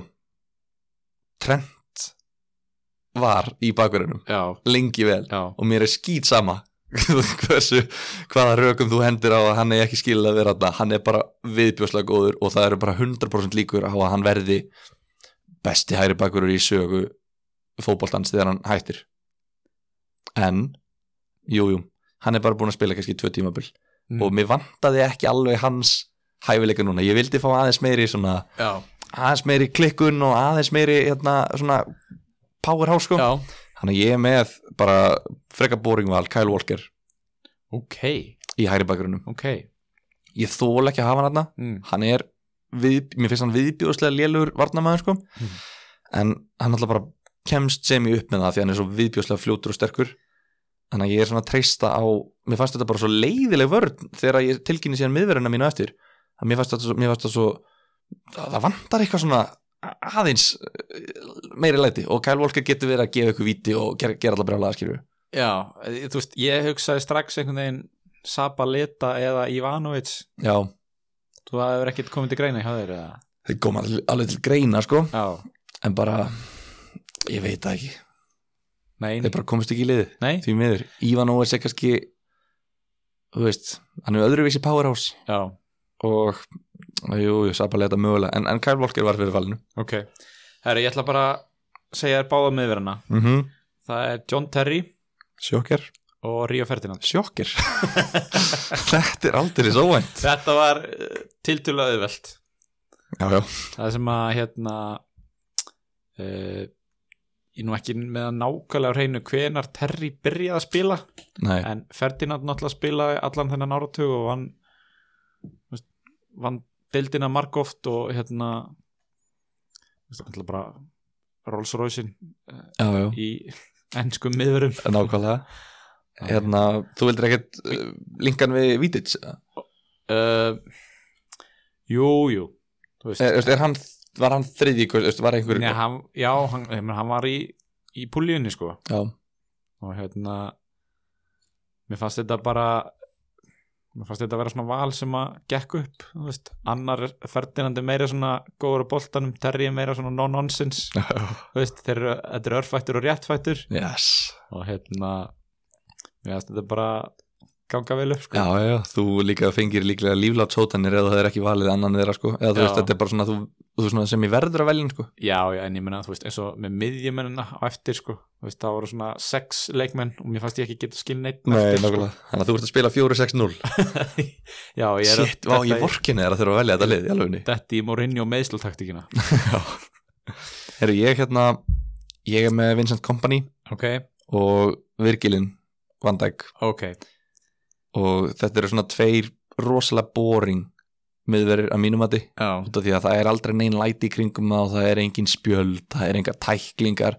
[SPEAKER 2] Trent var í bakverðinum
[SPEAKER 1] já,
[SPEAKER 2] lengi vel
[SPEAKER 1] já,
[SPEAKER 2] og mér er skýt sama hversu, hvaða rökum þú hendir á að hann er ekki skilið að vera þarna hann er bara viðbjóðslega góður og það eru bara 100% líkur á að hann verði besti hægri bakurur í sögu fótboltans þegar hann hættir en jújú, jú, hann er bara búin að spila kannski tvö tímabil
[SPEAKER 1] Mm.
[SPEAKER 2] og mér vantaði ekki alveg hans hæfileika núna, ég vildi fá aðeins meiri svona,
[SPEAKER 1] já,
[SPEAKER 2] aðeins meiri klikkun og aðeins meiri hérna, svona powerhouse sko
[SPEAKER 1] já
[SPEAKER 2] Þannig að ég er með bara freka boringval, Kyle Walker
[SPEAKER 1] ok,
[SPEAKER 2] í hægri bakgrunum.
[SPEAKER 1] ok
[SPEAKER 2] Ég þól ekki að hafa hann hann
[SPEAKER 1] mm.
[SPEAKER 2] hann er, við, mér finnst hann viðbjóðslega lélugur varnamæður sko
[SPEAKER 1] Mhm.
[SPEAKER 2] en hann alltaf bara kemst sem ég upp með það því hann er svo viðbjóðslega fljótur og sterkur þannig að ég er svona að treysta á mér fannst þetta bara svo leiðileg vörn þegar ég tilkynni síðan miðverðina mínu eftir að mér fannst þetta svo, mér fannst þetta svo það, það vantar eitthvað svona aðeins eh, meiri læti og Kyle Walker getur verið að gefa ykkur viti og gera, gera allar brjálega skilju
[SPEAKER 1] Já, eh, þú veist, ég hugsaði strax einhvern veginn Sabaleta eða Ivanovic
[SPEAKER 2] já,
[SPEAKER 1] þú hefur ekkert komið til greina hjá þeir eða?
[SPEAKER 2] þeir koma al- alveg til greina sko
[SPEAKER 1] Já,
[SPEAKER 2] en bara, ég veit það ekki
[SPEAKER 1] nei,
[SPEAKER 2] þeir bara komist ekki í liðið
[SPEAKER 1] nei
[SPEAKER 2] því miður, Ivan Óes er kannski þú veist, hann er öðruvísi powerhouse
[SPEAKER 1] Já,
[SPEAKER 2] og jú, jú, Sabaleta mögulega en, en Kyle Walker var fyrir valinu
[SPEAKER 1] ok Herri, ég ætla bara að segja þér báða miðverðina
[SPEAKER 2] mm -hmm.
[SPEAKER 1] Það er John Terry
[SPEAKER 2] sjokker,
[SPEAKER 1] og Ríó Ferdinand
[SPEAKER 2] sjokker þetta er aldrei svo vænt
[SPEAKER 1] Þetta var uh, tiltölulega auðvelt
[SPEAKER 2] já, já,
[SPEAKER 1] Það sem að hérna uh, ég nú ekki með að nákvæmlega á hreinu hvenar Terry byrjaði að spila
[SPEAKER 2] nei,
[SPEAKER 1] en Ferdinand náttúrulega spilaði allan þennan áratug og vann þú veist, vann deildina margóft og hérna þú veist, náttúrulega bara Rolls Royce-in
[SPEAKER 2] já, já,
[SPEAKER 1] í ennskum miðurum
[SPEAKER 2] nákvæmlega hérna, þú vildir ekkert uh, linkan við Vítids
[SPEAKER 1] uh, Jú, jú þú veist,
[SPEAKER 2] er, er hann, var hann þriði var einhver
[SPEAKER 1] nei, hann, já, hann, ég meina, hann var í, í púlíunni sko
[SPEAKER 2] já,
[SPEAKER 1] og hérna mér fannst þetta bara mér fannst þetta að vera svona val sem að gekk upp, þú veist, annar Ferdinand er meira svona góður á boltanum Terry er meira svona no-nonsense þú veist, þeir eru, þetta er örfættur og réttfættur
[SPEAKER 2] yes
[SPEAKER 1] og hérna mér fannst þetta bara ganga vel upp
[SPEAKER 2] Já,
[SPEAKER 1] sko.
[SPEAKER 2] já, þú líka fengir líklega líflátt sótanir eða það er ekki valið annan þeirra sko eða þú
[SPEAKER 1] Já.
[SPEAKER 2] veist, þetta er bara svona, þú, þú svona sem ég verður að velja sko
[SPEAKER 1] já, já, en ég menna, þú veist, eins og með miðjumennina á eftir, sko, þú veist, það voru svona sex leikmenn og mér fannst ég ekki geta skil neitt eftir, sko.
[SPEAKER 2] Þannig að þú ert að spila 4-6-0
[SPEAKER 1] já, ég er
[SPEAKER 2] Sitt, vá, ég vorkinni þeirra að þurfa að velja þetta lið í alvegni
[SPEAKER 1] þetta í Mourinho meðslutaktíkina
[SPEAKER 2] Herru, ég hérna, ég er með Vincent Kompany
[SPEAKER 1] ok,
[SPEAKER 2] og Virgilin Van Dijk
[SPEAKER 1] ok,
[SPEAKER 2] og þetta eru svona tveir rosalega boring miðverðir að mínum mati
[SPEAKER 1] já
[SPEAKER 2] út af því að það er aldrei neinn læti í kringum það og það er engin spjöld, það er engar tæklingar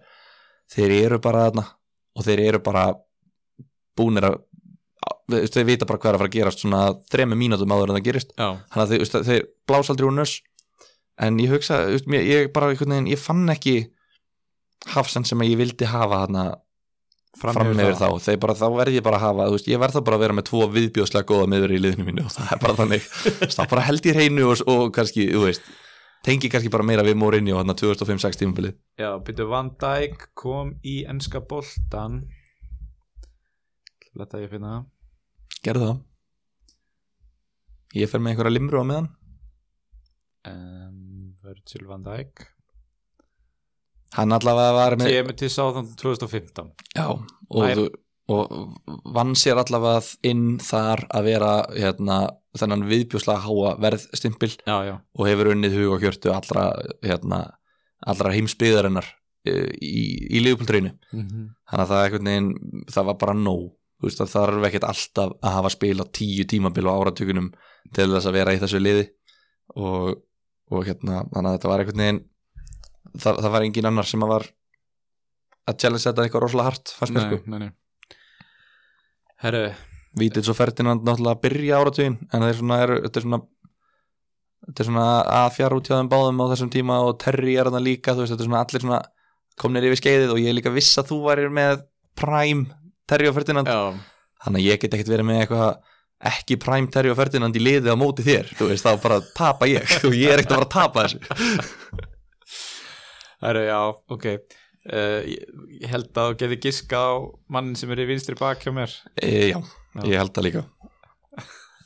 [SPEAKER 2] þeir eru bara þarna og þeir eru bara búnir að þú veist, þeir vita bara hvað er að fara að gerast svona þremi mínútum áður en það gerist
[SPEAKER 1] já,
[SPEAKER 2] þannig að þeir, þú veist, þeir blása aldrei úr nös en ég hugsa, þú veist, mér- ég bara einhvern veginn, ég fann ekki hafsend sem ég vildi hafa þarna fram yfir þá, þeir bara, þá verð ég bara að hafa þú veist, ég verð þá bara að vera með tvo viðbjóðslega góða meður í liðinu mínu og það er bara þannig Þú veist, þá bara held ég hreinu og, og kannski, þú veist tengi kannski bara meira við Mourinho hann 2005-6 tímabilið
[SPEAKER 1] já, byrju Van Dijk kom í enska boltan leta ég finna það
[SPEAKER 2] gerðu það ég fer með einhverja limru á meðan
[SPEAKER 1] um, Virgil van Dijk
[SPEAKER 2] hann allavega var með
[SPEAKER 1] kemur til Southampton 2015
[SPEAKER 2] já, og,
[SPEAKER 1] Nær-
[SPEAKER 2] þú, og vann sér allavega inn þar að vera hérna, þennan viðbjóðslega háa verðstimpil
[SPEAKER 1] já, já,
[SPEAKER 2] og hefur unnið hug og hjörtu allra, hérna, allra heimsbyðarinnar í, í liðupöldreinu þannig að það, einhvern veginn, það var bara nóg Þú veist, það þarf ekkert alltaf að hafa spil á tíu tímabil á áratugunum til þess að vera í þessu liði og, og hérna, þannig að þetta var einhvern veginn það, það var engin annar sem að var að challenge þetta eitthvað rosalega hart fannst mér
[SPEAKER 1] nei,
[SPEAKER 2] sko,
[SPEAKER 1] nei, nei herru,
[SPEAKER 2] vítið svo Ferdinand náttúrulega að byrja áratugin en þeir svona eru, þetta er svona þetta er svona að fjara út hjá þeim báðum á þessum tíma og Terry er þarna líka, þú veist, þetta er svona allir svona komnir yfir skeiðið og ég líka viss að þú varir með Prime Terry og Ferdinand
[SPEAKER 1] já,
[SPEAKER 2] þannig að ég get ekkert verið með eitthvað ekki Prime Terry og Ferdinand í liði á móti þér þú veist, þá bara tapa ég og ég er ekkert að fara að tapa þessu
[SPEAKER 1] herru, já, ok uh, ég, ég held að þú getur giskað á mannin sem er í vinstri bak hjá mér
[SPEAKER 2] e, já, ég held það líka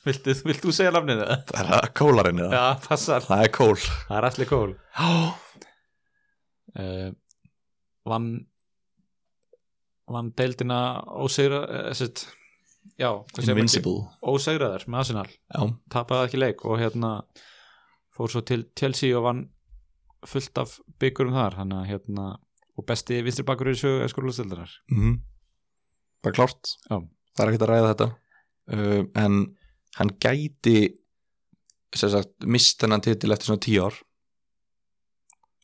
[SPEAKER 1] viltu, vilt þú segja lafnið það?
[SPEAKER 2] það er að kólarinn eða,
[SPEAKER 1] já, passar,
[SPEAKER 2] það er kól
[SPEAKER 1] það er allir kól
[SPEAKER 2] já,
[SPEAKER 1] uh, vann vann deildina ósegra uh, sitt, já, hvað segir maður ekki?
[SPEAKER 2] invincible
[SPEAKER 1] ósegraður með Arsenal
[SPEAKER 2] já,
[SPEAKER 1] tapaði ekki leik og hérna fór svo til Chelsea og vann fullt af byggurum þar þannig að hérna og besti vinstri bakur í sögu skólastildarar
[SPEAKER 2] mhm bara klárt,
[SPEAKER 1] Já.
[SPEAKER 2] það er ekkert að ræða þetta uh, en hann gæti sem sagt, mist þennan titil eftir svona tíu ár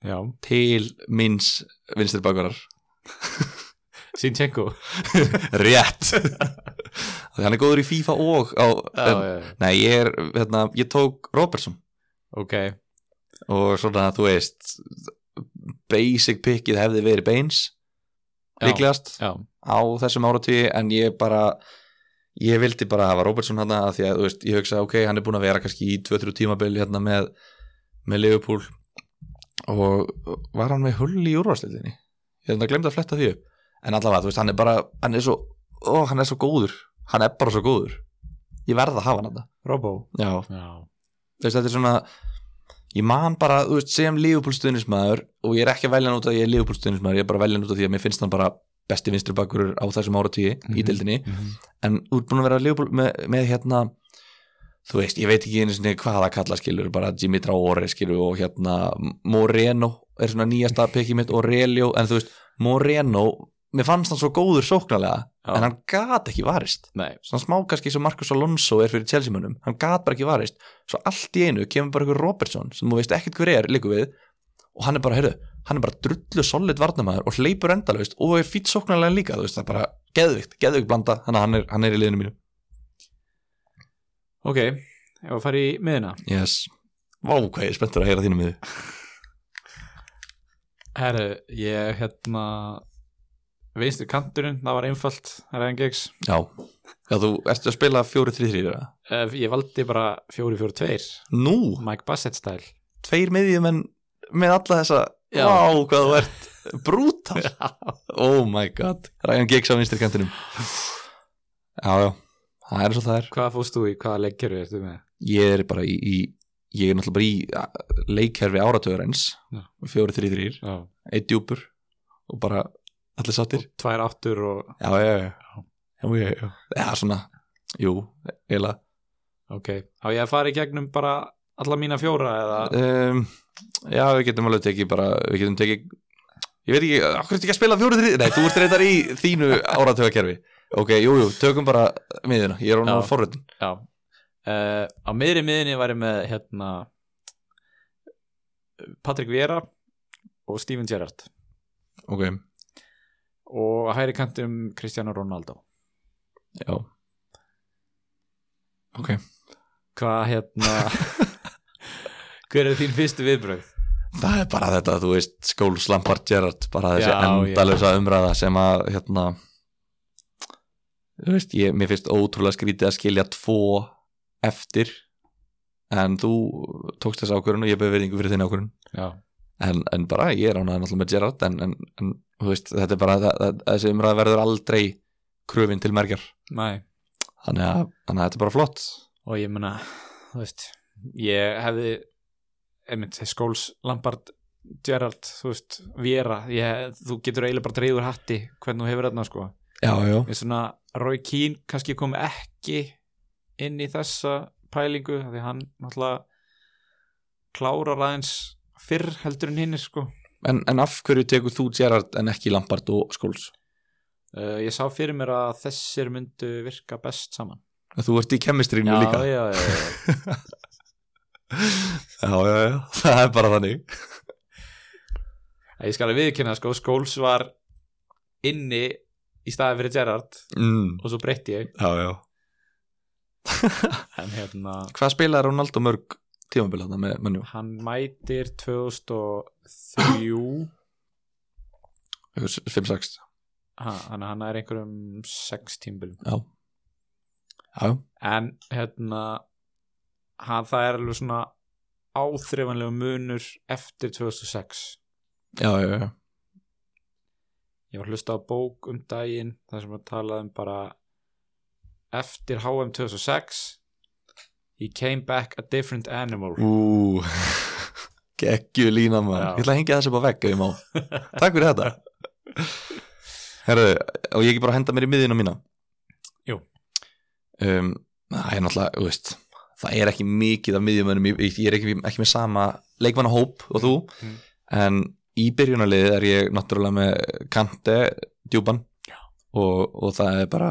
[SPEAKER 1] já,
[SPEAKER 2] til minns vinstri bakvarar
[SPEAKER 1] Sinchenko
[SPEAKER 2] Rétt Þannig hann er góður í FIFA og á,
[SPEAKER 1] Já,
[SPEAKER 2] en,
[SPEAKER 1] já, já.
[SPEAKER 2] Nei, ég er, hérna, ég tók Robertson
[SPEAKER 1] ok,
[SPEAKER 2] og svona, þú veist basic pickið hefði verið Baines
[SPEAKER 1] Já.
[SPEAKER 2] líklegast
[SPEAKER 1] já,
[SPEAKER 2] á þessum áratí en ég bara ég vildi bara hafa Robertson hann að því að þú veist, ég hugsa ok, hann er búin að vera kannski í 2-3 tímabil hérna með, með Liverpool og var hann með hull í úrvarsleitinni ég hef þetta glemt að fletta því upp en allavega, þú veist, hann er bara, hann er svo ó, hann er svo góður, hann er bara svo góður ég verð að hafa hann þetta
[SPEAKER 1] Robo
[SPEAKER 2] Já,
[SPEAKER 1] já,
[SPEAKER 2] þú veist, þetta er svona ég man bara, þú veist, sem Liverpool stuðnismæður og ég er ekki að velja hann út af því að ég er Liverpool stuðnismæður, ég er bara að velja hann út af því að mér finnst hann bara besti vinstri bakkurur á þessum áratíi í
[SPEAKER 1] Mhm.
[SPEAKER 2] dildinni, en þú ert búin að vera Liverpool með, með hérna þú veist, ég veit ekki einu sinni hvað það kalla skilur bara Jimmy Traore skilur og hérna Moreno er svona nýjasta pekið mitt og Relio, en þú veist, Moreno mér fannst hann svo góður sóknarlega
[SPEAKER 1] Já.
[SPEAKER 2] en hann gat ekki varist
[SPEAKER 1] nei,
[SPEAKER 2] svona smá kannski sem Marcus Alonso er fyrir Chelsea-mönnum hann gat bara ekki varist svo allt í einu kemur bara ykkur Robertson sem þú veist ekkert hver er líku við og hann er bara, heyrðu, hann er bara drullu solid varnamæður og hleypur endalaust og er fýtt sóknarlega líka, þú veist, það er bara geðvikt, geðvikt blanda, þannig að hann er, hann er í liðinu mínu
[SPEAKER 1] ok ef að fara í miðina
[SPEAKER 2] yes, vá hvað ég er spenntur að heyra þínu miðu
[SPEAKER 1] herru, ég hérna veistu kanturinn, það var einfalt það er enn gegs,
[SPEAKER 2] já, já, þú ert að spila 4-3-3 eða?
[SPEAKER 1] ég valdi bara 4-4-2
[SPEAKER 2] nú,
[SPEAKER 1] Mike Bassett stæl
[SPEAKER 2] tveir miðjum en með alla þessa,
[SPEAKER 1] Já.
[SPEAKER 2] vá hvað þú ert brútal oh my god, Ryan Giggs á vinstri kantinum já, já, það er svo það er
[SPEAKER 1] hvað fóst þú í, hvaða leggjöru ertu með
[SPEAKER 2] ég er bara í, í ég er náttúrulega bara í a- leikkerfi áratöður eins
[SPEAKER 1] Já.
[SPEAKER 2] fjóri, þrý, þrýr,
[SPEAKER 1] já.
[SPEAKER 2] eitt djúpur og bara allir sáttir
[SPEAKER 1] tvær áttur og
[SPEAKER 2] já, já, já, já, já, já. já svona, jú, eiginlega
[SPEAKER 1] ok, á ég að fara í gegnum bara alla mína fjóra eða
[SPEAKER 2] um, já, við getum alveg tekið bara, við getum tekið ég veit ekki, okkur ertu ekki að spila fjóri, þrý nei, þú ert reyndar í þínu áratöðakerfi ok, jú, jú, tökum bara miðina, ég er á
[SPEAKER 1] Já.
[SPEAKER 2] náttúrulega forröðin
[SPEAKER 1] já uh, á miðri miðinni var ég með hérna Patrick Vera og Steven Gerrard
[SPEAKER 2] ok,
[SPEAKER 1] og á hæri kantum Cristiano Ronaldo
[SPEAKER 2] já ok
[SPEAKER 1] hvað hérna hver er þín fyrstu viðbröð
[SPEAKER 2] það er bara þetta, þú veist, Skóls Lampard Gerrard, bara þessi
[SPEAKER 1] Já,
[SPEAKER 2] endalösa umræða sem að, hérna þú veist, ég, mér finnst ótrúlega skrítið að skilja tvo eftir en þú tókst þessa ákvörun og ég beði verðingu fyrir þinn ákvörun
[SPEAKER 1] já,
[SPEAKER 2] en, en bara, ég er ánægð náttúrulega með Gerrard en, en, en, þú veist, þetta er bara það, það, þessi umræða verður aldrei kröfin til merkjar,
[SPEAKER 1] næ
[SPEAKER 2] þannig að, þannig að þetta er bara flott
[SPEAKER 1] og ég meina, þú veist ég hefði einmitt, Skóls, Lampard, Gerrard þú veist, Vera ég, þú getur eiginlega bara dreigur hatti hvernig þú hefur þarna sko
[SPEAKER 2] já, já,
[SPEAKER 1] ég svona, Roy Keane kannski kom ekki inn í þessa pælingu af því hann náttúrulega klárar aðeins fyrr heldur en hinn sko
[SPEAKER 2] en, en af hverju tekur þú Gerrard en ekki Lampard og Skóls?
[SPEAKER 1] uh, ég sá fyrir mér að þessir myndu virka best saman
[SPEAKER 2] Þú ert í kemistrinu líka
[SPEAKER 1] já, já, já.
[SPEAKER 2] já, já, já, það er bara þannig
[SPEAKER 1] Ég skal að viðkynna sko, Skóls var inni í staði fyrir Gerrard
[SPEAKER 2] mm,
[SPEAKER 1] og svo breytti ég
[SPEAKER 2] já, já.
[SPEAKER 1] en hérna
[SPEAKER 2] Hvað spilaði Ronaldo mörg tímabil þarna með mannjú?
[SPEAKER 1] hann mætir 2003
[SPEAKER 2] Ykkur 5-6
[SPEAKER 1] ha, hann, hann er einhverjum 6 tímbilum
[SPEAKER 2] Já, já, já.
[SPEAKER 1] en hérna hann, það er alveg svona áþreifanlega munur eftir 2006
[SPEAKER 2] já, já, já.
[SPEAKER 1] ég var að hlusta á bók um daginn þar sem að tala um bara eftir HM 2006 he came back a different animal
[SPEAKER 2] Ú, geggju lína maður
[SPEAKER 1] Já.
[SPEAKER 2] Ég ætla að hengja þessi bara vekk ef ég má Takk fyrir þetta Herru, og ég ekki bara að henda mér í miðina mína
[SPEAKER 1] Jú.
[SPEAKER 2] um, Það er náttúrulega, þú veist Það er ekki mikið af miðjumönnum í- Ég er ekki, ekki með sama leikmannahóp og þú
[SPEAKER 1] Mm.
[SPEAKER 2] En í byrjunarliðið er ég náttúrulega með Kante, Djúban og, og það er bara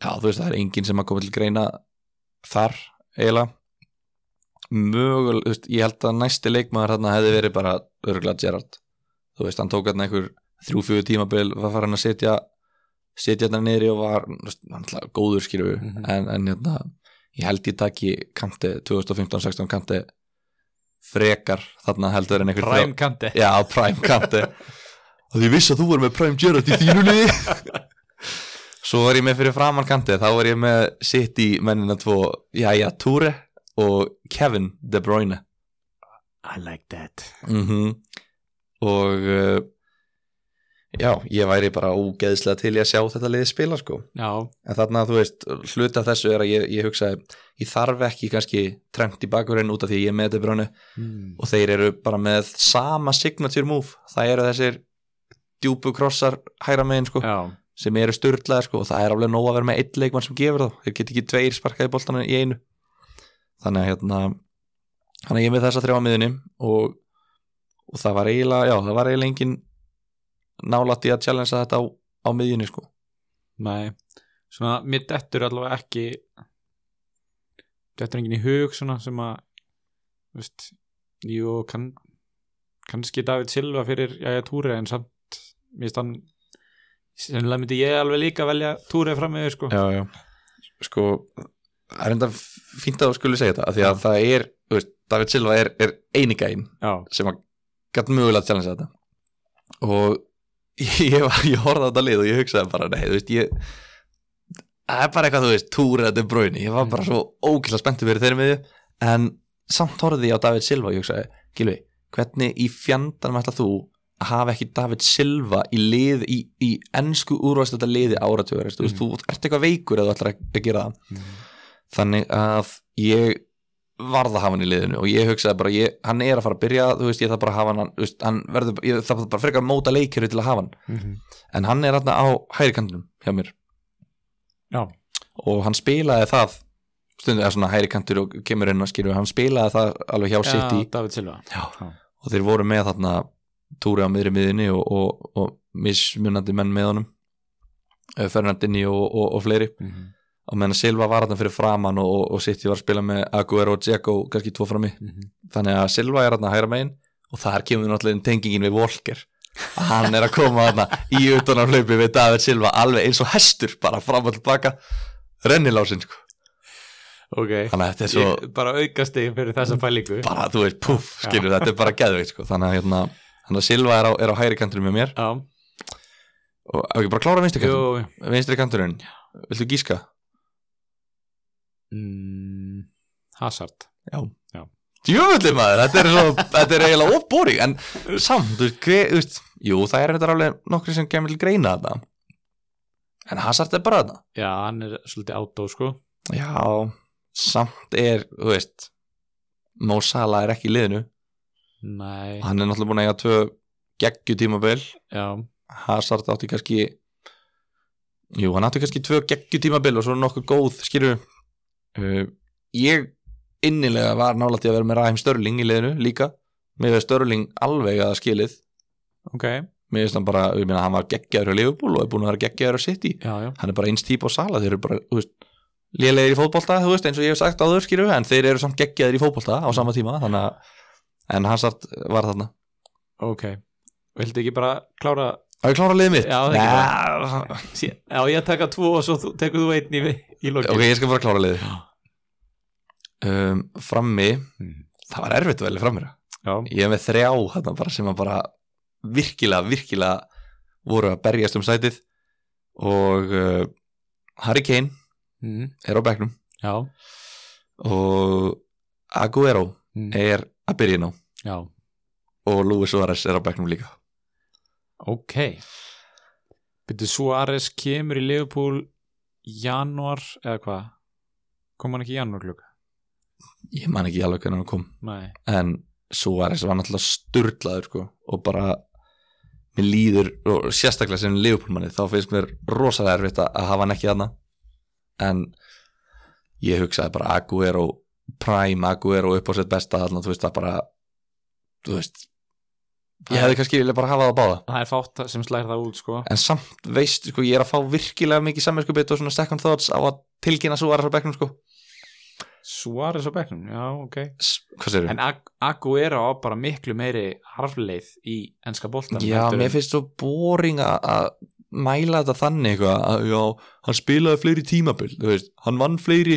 [SPEAKER 2] Já, þú veist, það er enginn sem að koma til greina þar eiginlega mögul, þú veist, ég held að næsti leikmaður þarna hefði verið bara örgulega Gerrard þú veist, hann tók hann einhver þrjú fjögur tímabil var farin að setja setja þetta niðri og var náttúrulega góður skilur
[SPEAKER 1] Mhm.
[SPEAKER 2] en, en hérna, ég held ég taki kanti 2015-16 kanti frekar þarna heldur en einhver
[SPEAKER 1] Prime Kante
[SPEAKER 2] Já, Prime Kante að ég vissi að þú var með Prime Gerrard í þínunni Svo var ég með fyrir framann Kante þá var ég með City mennina tvo Jæja, Ture og Kevin De Bruyne
[SPEAKER 1] I like that
[SPEAKER 2] mm og uh, já, ég væri bara ógeðslega til í að sjá þetta liðið spila sko
[SPEAKER 1] Já,
[SPEAKER 2] en þarna þú veist, hluti af þessu er að ég, ég hugsaði, ég þarf ekki kannski trend í bakurinn út af því að ég er með De Bruyne
[SPEAKER 1] mm.
[SPEAKER 2] og þeir eru bara með sama signature move, það eru þessir djúpu krossar hæra megin sko,
[SPEAKER 1] já
[SPEAKER 2] sem eru styrlaðir sko, og það er alveg nóg að vera með einn leikmann sem gefur þá þeir get ekki tveir sparkaði boltana í einu þannig að hérna þannig að ég er með þessa þrjá á miðunni og, og það var eiginlega já, það var eiginlega engin nálætt í að challengea þetta á, á miðjunni sko
[SPEAKER 1] Nei, svona mér dettur allavega ekki dettur enginn í hug svona sem að þú veist, jú, kann, kannski David Silva fyrir Jæja Túri en samt mér finnst hann sennilega myndi ég alveg líka velja Túri fram með sko.
[SPEAKER 2] já, já. sko það er enda fínt að þú skulle segja þetta af því að það er, þú veist, David Silva er, er einigæinn
[SPEAKER 1] já,
[SPEAKER 2] sem að gætt mögulega að challengea þetta og ég, var, ég horfði á þetta lið og ég hugsaði bara nei, þú veist, ég það er bara eitthvað, þú veist, túrið þetta er brauðni ég var bara svo ókvæmlega spenntur fyrir þeirri með því en samt horfði ég á David Silva og ég hugsaði, Gilvi, hvernig í fjandarm ætla þú að hafa ekki David Silva í lið í, í ennsku úrvæðst þetta liði áratugur mm. þú veist, þú ert eitthvað veikur að þú ætlar að að gera það þannig að ég varð að hafa hann í liðinu og ég hugsaði bara ég, hann er að fara að byrja, þú veist, ég þarf bara að hafa hann, þú veist, hann verður, ég þarf bara frekar að móta leikir til að hafa hann,
[SPEAKER 1] Mhm.
[SPEAKER 2] en hann er hérna á hægri kantinum hjá mér
[SPEAKER 1] já,
[SPEAKER 2] og hann spilaði það stundum er svona hægri kantur og kemur inn og skilur hann spilaði það alveg hjá City
[SPEAKER 1] já, David Silva
[SPEAKER 2] Já.
[SPEAKER 1] Já.
[SPEAKER 2] og þeir voru með þarna túri á miðri miðinni og, og, og mismunandi menn með honum Fernandinni og, og, og fleiri
[SPEAKER 1] Mhm.
[SPEAKER 2] og meðan Silva var þarna fyrir framann og, og, og City var að spila með Aguero og Dzeko kannski tvo frammi
[SPEAKER 1] Mhm.
[SPEAKER 2] þannig að Silva er hérna hægra megin og þar kemur náttúrulega inn tengingin við Volker að hann er að koma hérna í utanarhlaupi við David Silva alveg eins og hestur bara fram og tilbaka rennilásin sko
[SPEAKER 1] ok,
[SPEAKER 2] þannig að þetta er svo Mm.
[SPEAKER 1] ég, bara aukast þig fyrir þessa fælingu
[SPEAKER 2] bara þú veist puff skilur þetta er bara geðveikt sko þannig að hérna þannig að Silva er á, er á hægri kanturinn með mér
[SPEAKER 1] já,
[SPEAKER 2] og á ekki bara að klára vinstri
[SPEAKER 1] jú
[SPEAKER 2] kanturinn vinstri kanturinn viltu gíska?
[SPEAKER 1] mm, Hazard
[SPEAKER 2] Já.
[SPEAKER 1] Já.
[SPEAKER 2] Djöfulli maður, þetta er, svo, þetta er eiginlega ofbóring, en samt, þú veist, hver, þú veist, jú, það er þetta alveg nokkri sem kemur til greina þetta. En Hazard er bara þetta.
[SPEAKER 1] já, hann er svolítið átó sko
[SPEAKER 2] Já, samt er, þú veist, Mo Salah er ekki í liðinu.
[SPEAKER 1] nei,
[SPEAKER 2] Hann er náttúrulega búin að eiga tvö geggju tímabil.
[SPEAKER 1] já,
[SPEAKER 2] Hazard átti kannski, jú, hann átti kannski tvö geggju tímabil og svo nokkuð góð,
[SPEAKER 1] Eh,
[SPEAKER 2] skilur. Uh, ég innilega var nálægt í að vera með Raheim Störling í liðinu líka. Mér veist Störling alveg að hafa skilið
[SPEAKER 1] ok
[SPEAKER 2] mér finnst hann bara, ég meina hann var geggjaður á Liverpool og er búin að vera geggjaður á City
[SPEAKER 1] já, já,
[SPEAKER 2] hann er bara eins típ á Sala, þeir eru bara þú veist, lélegir í fótbolta, þú veist, eins og ég hef sagt áður skýru, en þeir eru samt geggjaður í fótbolta á sama tíma, þannig að en hann satt var þarna.
[SPEAKER 1] ok Vildi ekki bara klára
[SPEAKER 2] Að ég klára liðið mitt?
[SPEAKER 1] Já, það er ekki
[SPEAKER 2] Nei,
[SPEAKER 1] sí, Já, ég taka tvo og svo þú- tekur þú einn í, í lokin
[SPEAKER 2] ok, ég skal bara klára liðið um, frammi,
[SPEAKER 1] Mm.
[SPEAKER 2] það var erfitt að velja frammi
[SPEAKER 1] Já,
[SPEAKER 2] ég hef með þrjá þarna bara sem að bara virkilega, virkilega voru að berjast um sætið og uh, Harry Kane
[SPEAKER 1] mm.
[SPEAKER 2] er á bekknum
[SPEAKER 1] já,
[SPEAKER 2] og Aguero
[SPEAKER 1] mm.
[SPEAKER 2] er að byrja inn á
[SPEAKER 1] já,
[SPEAKER 2] og Luis Suárez er á bekknum líka
[SPEAKER 1] ok Byrju, Suárez kemur í Liverpool januar, eða hvað kom hann ekki í januar klukka?
[SPEAKER 2] ég man ekki alveg hvernig hann kom
[SPEAKER 1] Nei,
[SPEAKER 2] en Suárez var náttúrulega sturdlaður sko, og bara mér líður, og sérstaklega sem Leopoldmanni þá finnst mér rosalega erfitt að- að hafa hann ekki þarna en ég hugsaði bara Aguero Prime Aguero upp á sitt besta þarna, þú veist það bara þú veist ég hefði kannski vilja bara hafa það báða
[SPEAKER 1] það er fátt sem slær það út sko
[SPEAKER 2] en samt veist, sko, ég er að fá virkilega mikið samvinsku og svona second thoughts á að tilkynna svo aðra svo bekknum, sko
[SPEAKER 1] Suárez á bekknum, já, ok
[SPEAKER 2] S- Hvað sér
[SPEAKER 1] En Ag- Aguero á bara miklu meiri harfleið í enska boltan
[SPEAKER 2] Já, mér finnst svo boring að- að mæla þetta þannig eitthvað að já, hann spilaði fleiri tímabil þú veist, hann vann fleiri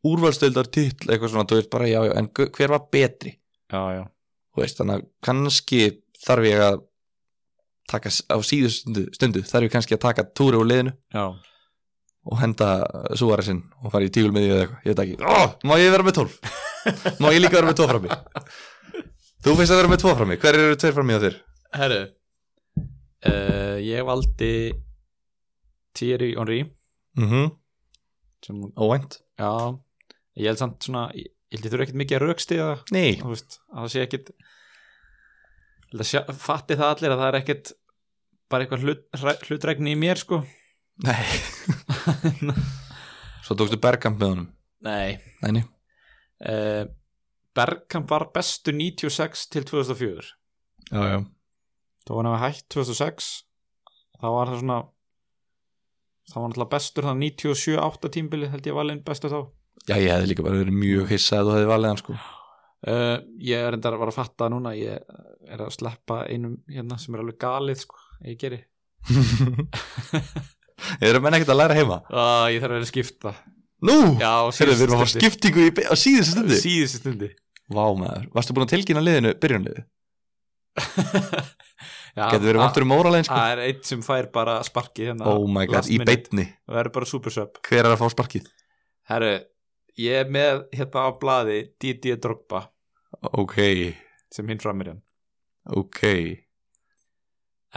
[SPEAKER 2] úrvalstöldar titl, eitthvað svona, þú veist bara já, já en gu- hver var betri,
[SPEAKER 1] Já, já,
[SPEAKER 2] þú veist, þannig að kannski þarf ég að taka s- á síðustundu stundu, þarf ég kannski að taka túri úr liðinu
[SPEAKER 1] já
[SPEAKER 2] og henda súarisinn og fara í tígul með því eða eitthvað, ég veit ekki oh, má ég vera með 12? má ég líka vera með 2 frammi? þú finnst að vera með 2 frammi, hver eru 2 frammi á þér?
[SPEAKER 1] Herru uh, Ég valdi Thierry Henry
[SPEAKER 2] mhm,
[SPEAKER 1] sem,
[SPEAKER 2] óvænt
[SPEAKER 1] já, ég held samt svona ég ég held ég þurfa ekkert mikið að raukstiða
[SPEAKER 2] nei,
[SPEAKER 1] þú veist, að það sé ekkit ég held að sjá, fatti það allir að það er ekkit bara eitthvað hlut, hra- hlutrækni í mér sko
[SPEAKER 2] nei Svo tókstu Bergkamp með honum
[SPEAKER 1] Nei
[SPEAKER 2] Næni
[SPEAKER 1] uh, Bergkamp var bestu 96 til 2004
[SPEAKER 2] Já, já
[SPEAKER 1] þá var hann að hætt 2006 þá var það svona þá var hann alltaf bestur það 97-8 tímbili held ég valinn bestu þá
[SPEAKER 2] ég hefði líka bara verið mjög hissað að þú hefði valið hann sko
[SPEAKER 1] Uh, ég er enda að vara að fatta núna ég er að sleppa einum hérna sem er alveg galið sko, ég geri
[SPEAKER 2] Eru menn ekkert að læra heima?
[SPEAKER 1] uh, ég þarf að vera að skipta
[SPEAKER 2] Nú!
[SPEAKER 1] já,
[SPEAKER 2] Hérðu, við erum að fá skiptingu í, be- á síðustu stundi
[SPEAKER 1] síðustu stundi
[SPEAKER 2] Vá maður, varstu búin að tilkynna liðinu byrjunliði?
[SPEAKER 1] já,
[SPEAKER 2] Getur verið vantur um óralegin sko?
[SPEAKER 1] það er eitt sem fær bara sparkið hérna
[SPEAKER 2] Oh my god,
[SPEAKER 1] last
[SPEAKER 2] í
[SPEAKER 1] minute.
[SPEAKER 2] beitni
[SPEAKER 1] það er bara supersöp
[SPEAKER 2] Hver er að fá sparkið?
[SPEAKER 1] herru, ég er með hérna á blaði Didi Drogba
[SPEAKER 2] Ok,
[SPEAKER 1] sem hinn framir hann
[SPEAKER 2] ok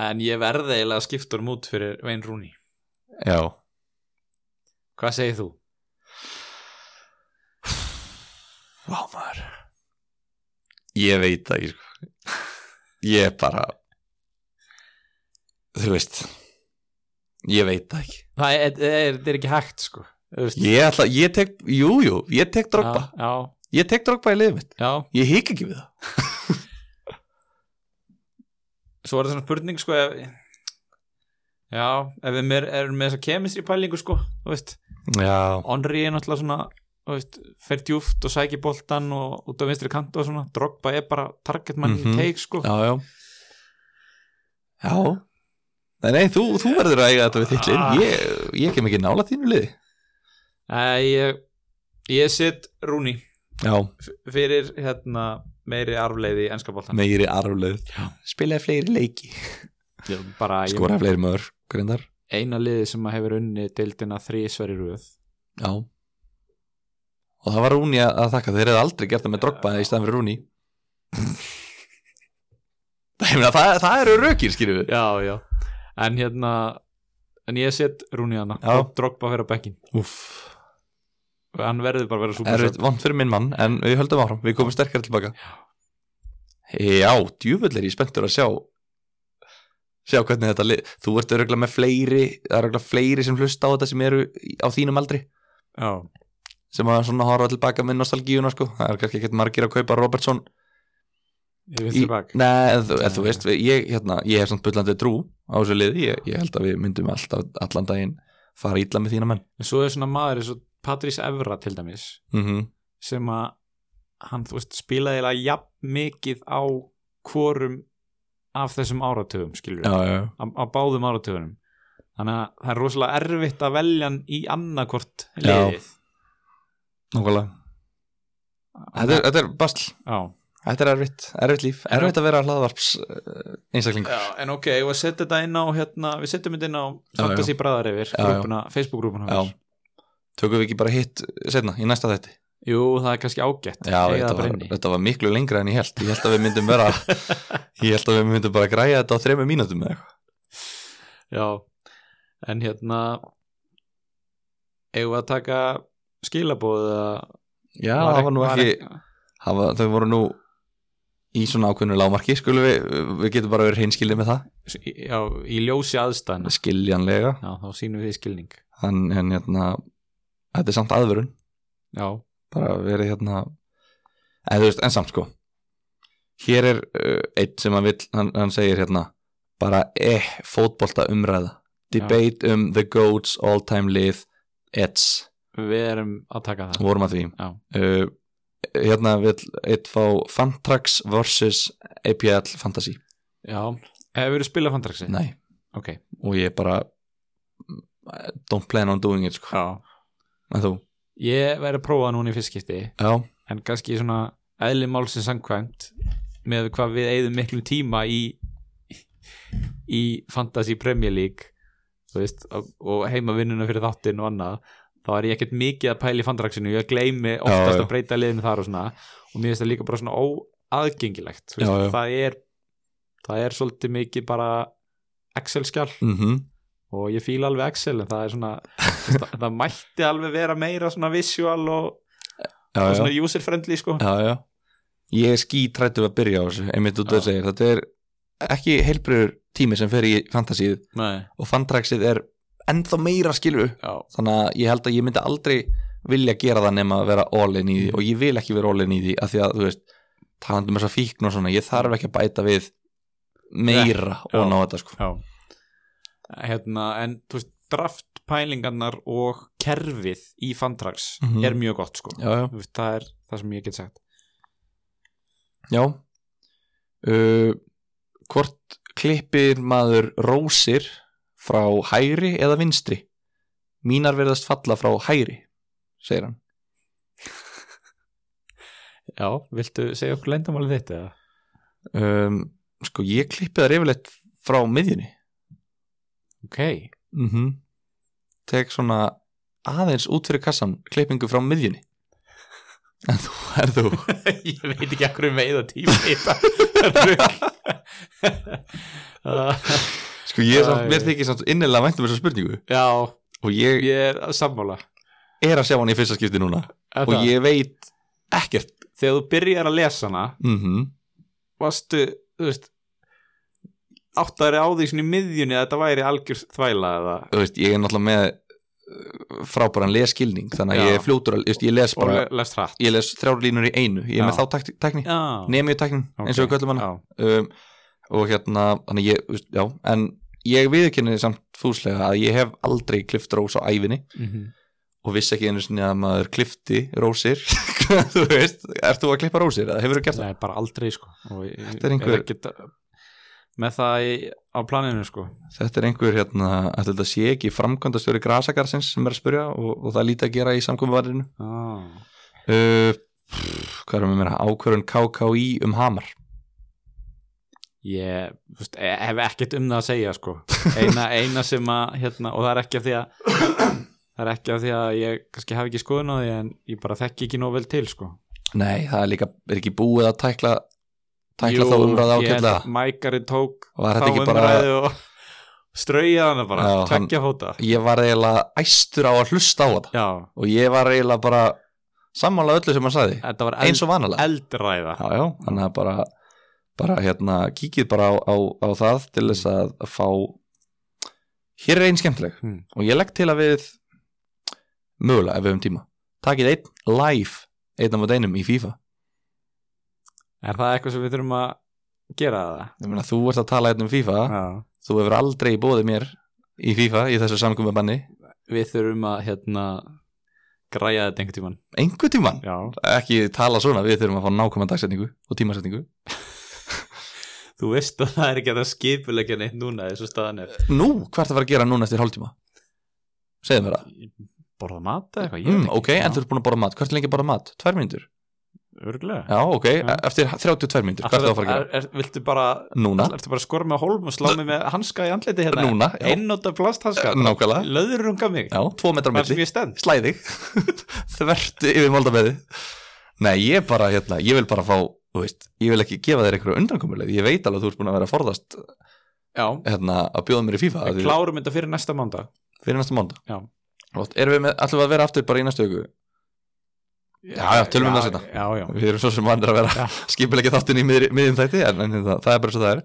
[SPEAKER 1] en ég verði eiginlega að skipta um út fyrir Vein Rúni
[SPEAKER 2] Já
[SPEAKER 1] hvað segir þú?
[SPEAKER 2] Vá maður Ég veit það ekki sko Ég bara Þú veist Ég veit það ekki
[SPEAKER 1] það er, er, er, er ekki hægt sko Þú veist.
[SPEAKER 2] Ég ætla, ég tek, jú, jú, ég tek drogba
[SPEAKER 1] já,
[SPEAKER 2] Ég tek drogba í liðið mitt
[SPEAKER 1] já, já
[SPEAKER 2] Ég hik ekki við það
[SPEAKER 1] svo er það svona spurning sko ef, já, ef við mér, erum með þessa kemistri pælingu sko, þú veist
[SPEAKER 2] Já,
[SPEAKER 1] Onri er náttúrulega svona, þú veist fer djúft og sækir boltan og út á vinstri kantu og svona, Drogba er bara target mann
[SPEAKER 2] Mhm.
[SPEAKER 1] í teik sko
[SPEAKER 2] já, já Já Nei, nei, þú, þú verður að eiga þetta við þittlinn
[SPEAKER 1] Ah.
[SPEAKER 2] ég, ég kem ekki nála þínu liði
[SPEAKER 1] Æ, ég, ég set Rúni
[SPEAKER 2] Já,
[SPEAKER 1] fyrir hérna meiri arfleiði í enska boltan
[SPEAKER 2] meiri arfleð Spilaði fleiri leiki
[SPEAKER 1] ég, bara ég,
[SPEAKER 2] Skoraði fleiri mörg, grindar
[SPEAKER 1] eina liði sem að hefur unni deildina þrísveri röð
[SPEAKER 2] Já Og það var Rúni að að þakka, þeir hefði aldrei gert það með drogba í staðan fyrir Rúni Ég meina, það, það eru rökir, skýrðu við
[SPEAKER 1] já, já, en hérna en ég set Rúni hana
[SPEAKER 2] Já.
[SPEAKER 1] og Drogba fyrir að bekkin
[SPEAKER 2] Úff
[SPEAKER 1] hann verður bara að vera
[SPEAKER 2] Erfitt,
[SPEAKER 1] supersub
[SPEAKER 2] vond fyrir minn mann, en við höldum áfram Við komum sterkar tilbaka Já, djúfull er ég spenntur að sjá Sjá hvernig þetta lið Þú ert örgulega með fleiri Það er örgulega fleiri sem hlusta á þetta sem eru í- á þínum aldri
[SPEAKER 1] já,
[SPEAKER 2] Sem að svona horfa tilbaka með nostalgíuna sko Það er kannski ekkert margir að kaupa Robertson
[SPEAKER 1] ég vinstri
[SPEAKER 2] í-
[SPEAKER 1] bak
[SPEAKER 2] Nei, en þú,
[SPEAKER 1] Nei.
[SPEAKER 2] en þú veist, ég, hérna, ég hef samt bullandi trú á þessu liði ég, ég held að við myndum alltaf allan daginn fara ítla með þína menn
[SPEAKER 1] en svo er svona maður eins og Patrís Evra til dæmis
[SPEAKER 2] mm -hmm.
[SPEAKER 1] sem að hann þú veist spilaði eiginlega jafn mikið á hvorum af þessum áratugum skilur
[SPEAKER 2] Já, já, já
[SPEAKER 1] á, á báðum áratugunum þannig að það er rosalega erfitt að velja hann í annarkvort liðið
[SPEAKER 2] Nákvæmlega Þetta er, þetta er basl
[SPEAKER 1] já.
[SPEAKER 2] Þetta er erfitt, erfitt líf Erfitt að vera hlaðvarps uh, einstakling
[SPEAKER 1] já, en ok, og að setja þetta inn á hérna, við setjum þetta inn á
[SPEAKER 2] já.
[SPEAKER 1] Fantasy Bræðar yfir,
[SPEAKER 2] Já, já.
[SPEAKER 1] Facebook-grúpuna
[SPEAKER 2] Já.
[SPEAKER 1] hans.
[SPEAKER 2] Tökum við ekki bara hitt setna í næsta þætti
[SPEAKER 1] jú, það er kannski ágætt
[SPEAKER 2] Já,
[SPEAKER 1] Eiga
[SPEAKER 2] þetta
[SPEAKER 1] það bara
[SPEAKER 2] var,
[SPEAKER 1] inni.
[SPEAKER 2] þetta var miklu lengra en ég held Ég held að við myndum vera Ég held að við myndum bara græja þetta á þremur mínútum eða eitthvað
[SPEAKER 1] Já, en hérna eigum við að taka skilabóð
[SPEAKER 2] Já, það var nú ekki hafa, Þau voru nú í svona ákveðnu lágmarki Skulum við, við getum bara verið hreinskildið með það
[SPEAKER 1] Já, í ljósi aðstæðna
[SPEAKER 2] Skiljanlega
[SPEAKER 1] Já, þá sýnum við skilning
[SPEAKER 2] En, en hérna, þetta er samt aðvörun
[SPEAKER 1] Já,
[SPEAKER 2] bara verið hérna en þú veist, en samt sko hér er uh, einn sem hann, vill, hann, hann segir hérna bara eh, fótbolta umræða debate um the goats all time lið ets
[SPEAKER 1] við erum að taka það
[SPEAKER 2] vorum að því
[SPEAKER 1] Já.
[SPEAKER 2] uh, hérna vil eitt fá Fantrax vs. APL Fantasy
[SPEAKER 1] Já, hefur við spilað fandraksi?
[SPEAKER 2] nei,
[SPEAKER 1] Ok,
[SPEAKER 2] og ég bara mm, don't plan on doing it sko.
[SPEAKER 1] já
[SPEAKER 2] en þú,
[SPEAKER 1] Ég væri að prófa núna í fyrstskipti
[SPEAKER 2] já,
[SPEAKER 1] en kannski svona eðli málsins samkvæmt með hvað við eigðum miklum tíma í í Fantasy Premier League þú veist, og, og heima vinnuna fyrir þáttinn og annað þá er ég ekkert mikið að pæla í fandraksinu ég gleymi oftast
[SPEAKER 2] já.
[SPEAKER 1] að breyta liðinu þar og svona og mér finnst það líka bara svona óaðgengilegt þú veist,
[SPEAKER 2] Já, já.
[SPEAKER 1] það er það er svolítið mikið bara Excel-skjál
[SPEAKER 2] mhm
[SPEAKER 1] og ég fíla alveg Excel en það er svona það, það mætti alveg vera meira svona visual og,
[SPEAKER 2] já,
[SPEAKER 1] og
[SPEAKER 2] já.
[SPEAKER 1] svona user friendly sko
[SPEAKER 2] já, já. ég er skítrættur að byrja á þessu einmitt út af
[SPEAKER 1] Já.
[SPEAKER 2] segir, þetta er ekki heilbriður tími sem fer í fantasíð
[SPEAKER 1] Nei,
[SPEAKER 2] og fantraxið er ennþá meira skilur
[SPEAKER 1] já,
[SPEAKER 2] þannig að ég held að ég myndi aldrei vilja gera það nema að vera all-in í því og ég vil ekki vera all-in í því af því að þú veist, talandum þess að fíkn og svona ég þarf ekki að bæta við meira
[SPEAKER 1] Já.
[SPEAKER 2] og ná þetta sko
[SPEAKER 1] já. Hérna, en þú veist, draft pælingarnar og kerfið í Fantrax
[SPEAKER 2] Mhm.
[SPEAKER 1] er mjög gott sko
[SPEAKER 2] já, já,
[SPEAKER 1] Þú veist, það er það sem ég get sagt
[SPEAKER 2] já uh, hvort klippir maður rósir frá hægri eða vinstri mínar verðast falla frá hægri segir hann
[SPEAKER 1] Já, viltu segja okkur leyndamálið þitt eða?
[SPEAKER 2] um, sko ég klippi það reyfilegt frá miðjunni
[SPEAKER 1] Ok,
[SPEAKER 2] mm
[SPEAKER 1] Mhm.
[SPEAKER 2] -hmm. tek svona aðeins út fyrir kassan klippingu frá miðjunni en þú er þú
[SPEAKER 1] ég veit ekki akkur um veiða tíma í þetta
[SPEAKER 2] sko ég er
[SPEAKER 1] Æ.
[SPEAKER 2] samt, mér þykir samt innilega væntum þessa spurningu
[SPEAKER 1] Já,
[SPEAKER 2] og ég
[SPEAKER 1] ég er að sammála
[SPEAKER 2] er að sjá hann í fyrsta skipti núna og
[SPEAKER 1] Þetta,
[SPEAKER 2] ég veit ekkert
[SPEAKER 1] Þegar þú byrjar að lesa hana
[SPEAKER 2] mm
[SPEAKER 1] Mhm. varstu, þú veist áttari á því svona í miðjunni að þetta væri algjör þvæla eða
[SPEAKER 2] þú veist, ég er náttúrulega með uh, frábæran leskilning þannig
[SPEAKER 1] Já.
[SPEAKER 2] að ég er fljótur að, þú veist, ég les
[SPEAKER 1] og
[SPEAKER 2] bara
[SPEAKER 1] le- lest hratt
[SPEAKER 2] ég les þrjár línur í einu, ég er með
[SPEAKER 1] Já.
[SPEAKER 2] þá takt- tækni
[SPEAKER 1] Já,
[SPEAKER 2] nemiutæknin, eins og við köllum hana
[SPEAKER 1] Já,
[SPEAKER 2] um, og hérna þannig ég, þú veist, já, en ég viðkynni samt fúslega að ég hef aldrei klift rós á æfinni
[SPEAKER 1] Mhm.
[SPEAKER 2] og vissi ekki einu sinni að maður klifti rósir, þú veist ert þú að klippa rósir, eða hefur þú gert það?
[SPEAKER 1] Nei, bara aldrei sko og ég-
[SPEAKER 2] Þetta er einhver-
[SPEAKER 1] er ekkit, með það í, á planinu sko
[SPEAKER 2] Þetta er einhver, hérna, að þetta sé ekki framkvæmdastjóri grasakarsins sem er að spurja og, og það líti að gera í samkominvarinu
[SPEAKER 1] ah.
[SPEAKER 2] uh, pff, hvað erum við meira, ákvörun KKÍ um hamar
[SPEAKER 1] ég þú veist, e- hef ekkert um það að segja sko eina, eina sem að hérna, og það er ekki af því að það er ekki af því að ég kannski hef ekki skoðun á því en ég bara þekki ekki nóg vel til sko
[SPEAKER 2] Nei, það er líka, er ekki búið að tækla tækla
[SPEAKER 1] Jú,
[SPEAKER 2] þá
[SPEAKER 1] ég
[SPEAKER 2] umræða
[SPEAKER 1] held
[SPEAKER 2] ákveðlega
[SPEAKER 1] að Mækarinn tók
[SPEAKER 2] Var
[SPEAKER 1] þá
[SPEAKER 2] þetta ekki bara-
[SPEAKER 1] umræðu og strauja hana bara,
[SPEAKER 2] Já, hann-
[SPEAKER 1] tvekja fóta
[SPEAKER 2] ég var eiginlega æstur á að hlusta á þetta
[SPEAKER 1] Já,
[SPEAKER 2] og ég var eiginlega bara sammála öllu sem hann sagði
[SPEAKER 1] þetta var
[SPEAKER 2] eins
[SPEAKER 1] eld,
[SPEAKER 2] og vanalega
[SPEAKER 1] eldræða
[SPEAKER 2] já, já, þannig að bara, bara hérna, kíkið bara á, á, á það til þess að fá hér er einn skemmtileg
[SPEAKER 1] Hmm.
[SPEAKER 2] og ég legg til að við mögulega ef við höfum tíma takið einn live einn á mót einum í FIFA
[SPEAKER 1] Er það eitthvað sem við þurfum að gera það?
[SPEAKER 2] ég meina þú ert að tala einn um FIFA
[SPEAKER 1] Já
[SPEAKER 2] þú hefur aldrei bóðið mér í FIFA í þessu samkomi banni
[SPEAKER 1] við þurfum að hérna græja þetta einhvern tíman
[SPEAKER 2] einhver tíman
[SPEAKER 1] já.
[SPEAKER 2] ekki tala svona, við þurfum að fá nákvæmna dagsetningu og tímasetningu
[SPEAKER 1] þú veist að það er ekki að það skipulegja neitt núna þessu staðan er
[SPEAKER 2] Nú, hvað ertu að fara að gera núna eftir hálftíma? Segðu mér það
[SPEAKER 1] borða mat eða eitthvað, ég
[SPEAKER 2] mm,
[SPEAKER 1] veit
[SPEAKER 2] Ok, en þú
[SPEAKER 1] ekki
[SPEAKER 2] ert búin að borða mat, hvað ertu lengi að borða mat? Tvær mínútur?
[SPEAKER 1] örgulega
[SPEAKER 2] Já, ok,
[SPEAKER 1] Já.
[SPEAKER 2] eftir 32 mínútur, hvað ertu að fara að gera?
[SPEAKER 1] viltu bara
[SPEAKER 2] Núna,
[SPEAKER 1] Ertu bara að skora með hólm og slá mig með hanska í andliti hérna?
[SPEAKER 2] núna, já, Eh,
[SPEAKER 1] Einnóta plasthanska?
[SPEAKER 2] nákvæmlega
[SPEAKER 1] Löðurunga mig?
[SPEAKER 2] Já, tvo metrar á
[SPEAKER 1] Það sem
[SPEAKER 2] milli,
[SPEAKER 1] ég stend?
[SPEAKER 2] slæði Þvert yfir máldabeði Nei, ég bara, hérna, ég vil bara fá Þú veist, ég vil ekki gefa þér einhverju undankomuleg Ég veit alveg að þú ert búin að vera að forðast
[SPEAKER 1] Já,
[SPEAKER 2] hérna, að bjóða mér í FIFA af
[SPEAKER 1] við
[SPEAKER 2] því-
[SPEAKER 1] klárum þetta fyrir næsta mánda
[SPEAKER 2] fyrir næsta mánda
[SPEAKER 1] Já.
[SPEAKER 2] Erum við með, ætlum við að vera aftur bara í næstu auku Já, já, tölum við það seinna.
[SPEAKER 1] Já, já,
[SPEAKER 2] Við erum svo sem vandir að vera
[SPEAKER 1] Já.
[SPEAKER 2] skipilegja þáttin í miðri- miðjum þætti en, en það, það er bara svo það er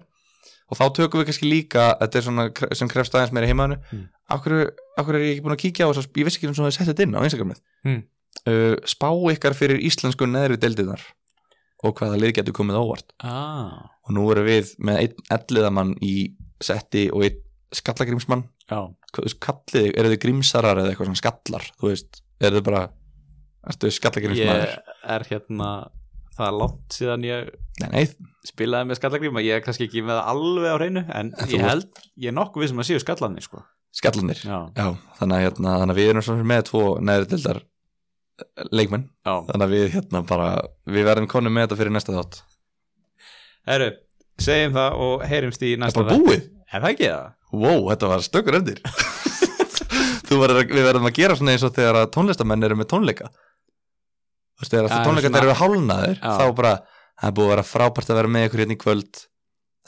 [SPEAKER 2] og þá tökum við kannski líka, þetta er svona kre- sem krefst aðeins meira heimaðinu
[SPEAKER 1] Mm.
[SPEAKER 2] af, hverju, af hverju er ég ekki búin að kíkja á þess að ég vissi ekki eins og það sett þetta inn á Instagramið
[SPEAKER 1] Mm.
[SPEAKER 2] uh, Spá ykkar fyrir íslensku neðri deildirnar og hvaða lið getur komið á óvart
[SPEAKER 1] ah,
[SPEAKER 2] og nú erum við með einn elliðamann í setti og einn skallagrímsmann
[SPEAKER 1] já,
[SPEAKER 2] Hvað- þú veist, kallið, eru þið grímsarar eða eitthvað svona skallar, þú veist, eru þið bara ertu skallagrímsmaður
[SPEAKER 1] ég er hérna það er langt síðan ég
[SPEAKER 2] nei, nei,
[SPEAKER 1] spilaði með skallagríma, ég er kannski ekki með það alveg á hreinu, en
[SPEAKER 2] En þú
[SPEAKER 1] ég held ég er nokkuð við sem að séu skallarnir sko.
[SPEAKER 2] skallanir já.
[SPEAKER 1] já,
[SPEAKER 2] þannig að hérna, þannig að við erum svona með tvo neðri dildar leikmenn
[SPEAKER 1] já,
[SPEAKER 2] þannig að við hérna bara, við verðum konum með þetta fyrir næsta þátt,
[SPEAKER 1] herru segjum það og heyrumst í
[SPEAKER 2] það er
[SPEAKER 1] næsta
[SPEAKER 2] bara
[SPEAKER 1] þætti.
[SPEAKER 2] búið
[SPEAKER 1] er það ekki það?
[SPEAKER 2] wow, þetta var stökkur endir þú verður, að- við verðum að gera svona eins og þegar að tónlistamenn eru með tónleika þú veist, þegar
[SPEAKER 1] Já,
[SPEAKER 2] að tónleika
[SPEAKER 1] svona-
[SPEAKER 2] eru hálnaðir
[SPEAKER 1] Já.
[SPEAKER 2] þá bara, það er búið að vera frábært að vera með ykkur hérna í kvöld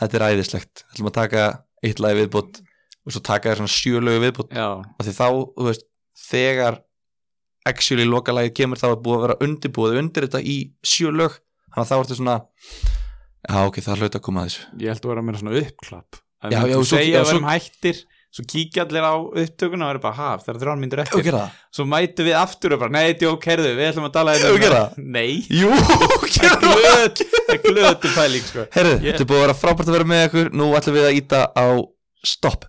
[SPEAKER 2] þetta er æðislegt, við ætlum að taka eitt lagi viðbútt og svo taka þér svona sjölögu viðbútt
[SPEAKER 1] já,
[SPEAKER 2] og því þá, þú veist, þegar actually lokalagið kemur þá er búið að vera undirbúið undir þetta í sjölög þannig að þá ertu svona já ok, það hlaut að koma að þessu
[SPEAKER 1] ég held að vera meira svona uppklapp en
[SPEAKER 2] Já,
[SPEAKER 1] já,
[SPEAKER 2] já,
[SPEAKER 1] þú
[SPEAKER 2] svo-
[SPEAKER 1] segja
[SPEAKER 2] já,
[SPEAKER 1] að við
[SPEAKER 2] svo-
[SPEAKER 1] erum hættir svo kíkja allir á upptökuna og eru bara, ha, það er þrján myndir
[SPEAKER 2] Ef
[SPEAKER 1] eftir
[SPEAKER 2] við gera það?
[SPEAKER 1] svo mætum við aftur og bara, nei, djók, heyrðu, við ætlum að tala hérna um
[SPEAKER 2] Ef við gera það?
[SPEAKER 1] nei,
[SPEAKER 2] Jú,
[SPEAKER 1] það
[SPEAKER 2] gera
[SPEAKER 1] er
[SPEAKER 2] það
[SPEAKER 1] glöð það er glöð til pæling, sko
[SPEAKER 2] Herru,
[SPEAKER 1] Ég-
[SPEAKER 2] þetta er búið að vera frábært að vera með ykkur Nú ætlum við að íta á stopp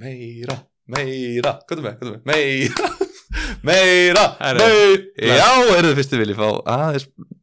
[SPEAKER 2] Meira, meira Hvað er með, hvað er með, meira Meira,
[SPEAKER 1] Herru,
[SPEAKER 2] meira
[SPEAKER 1] bless.
[SPEAKER 2] Já, eru þið fyrst þið viljið fá aðeins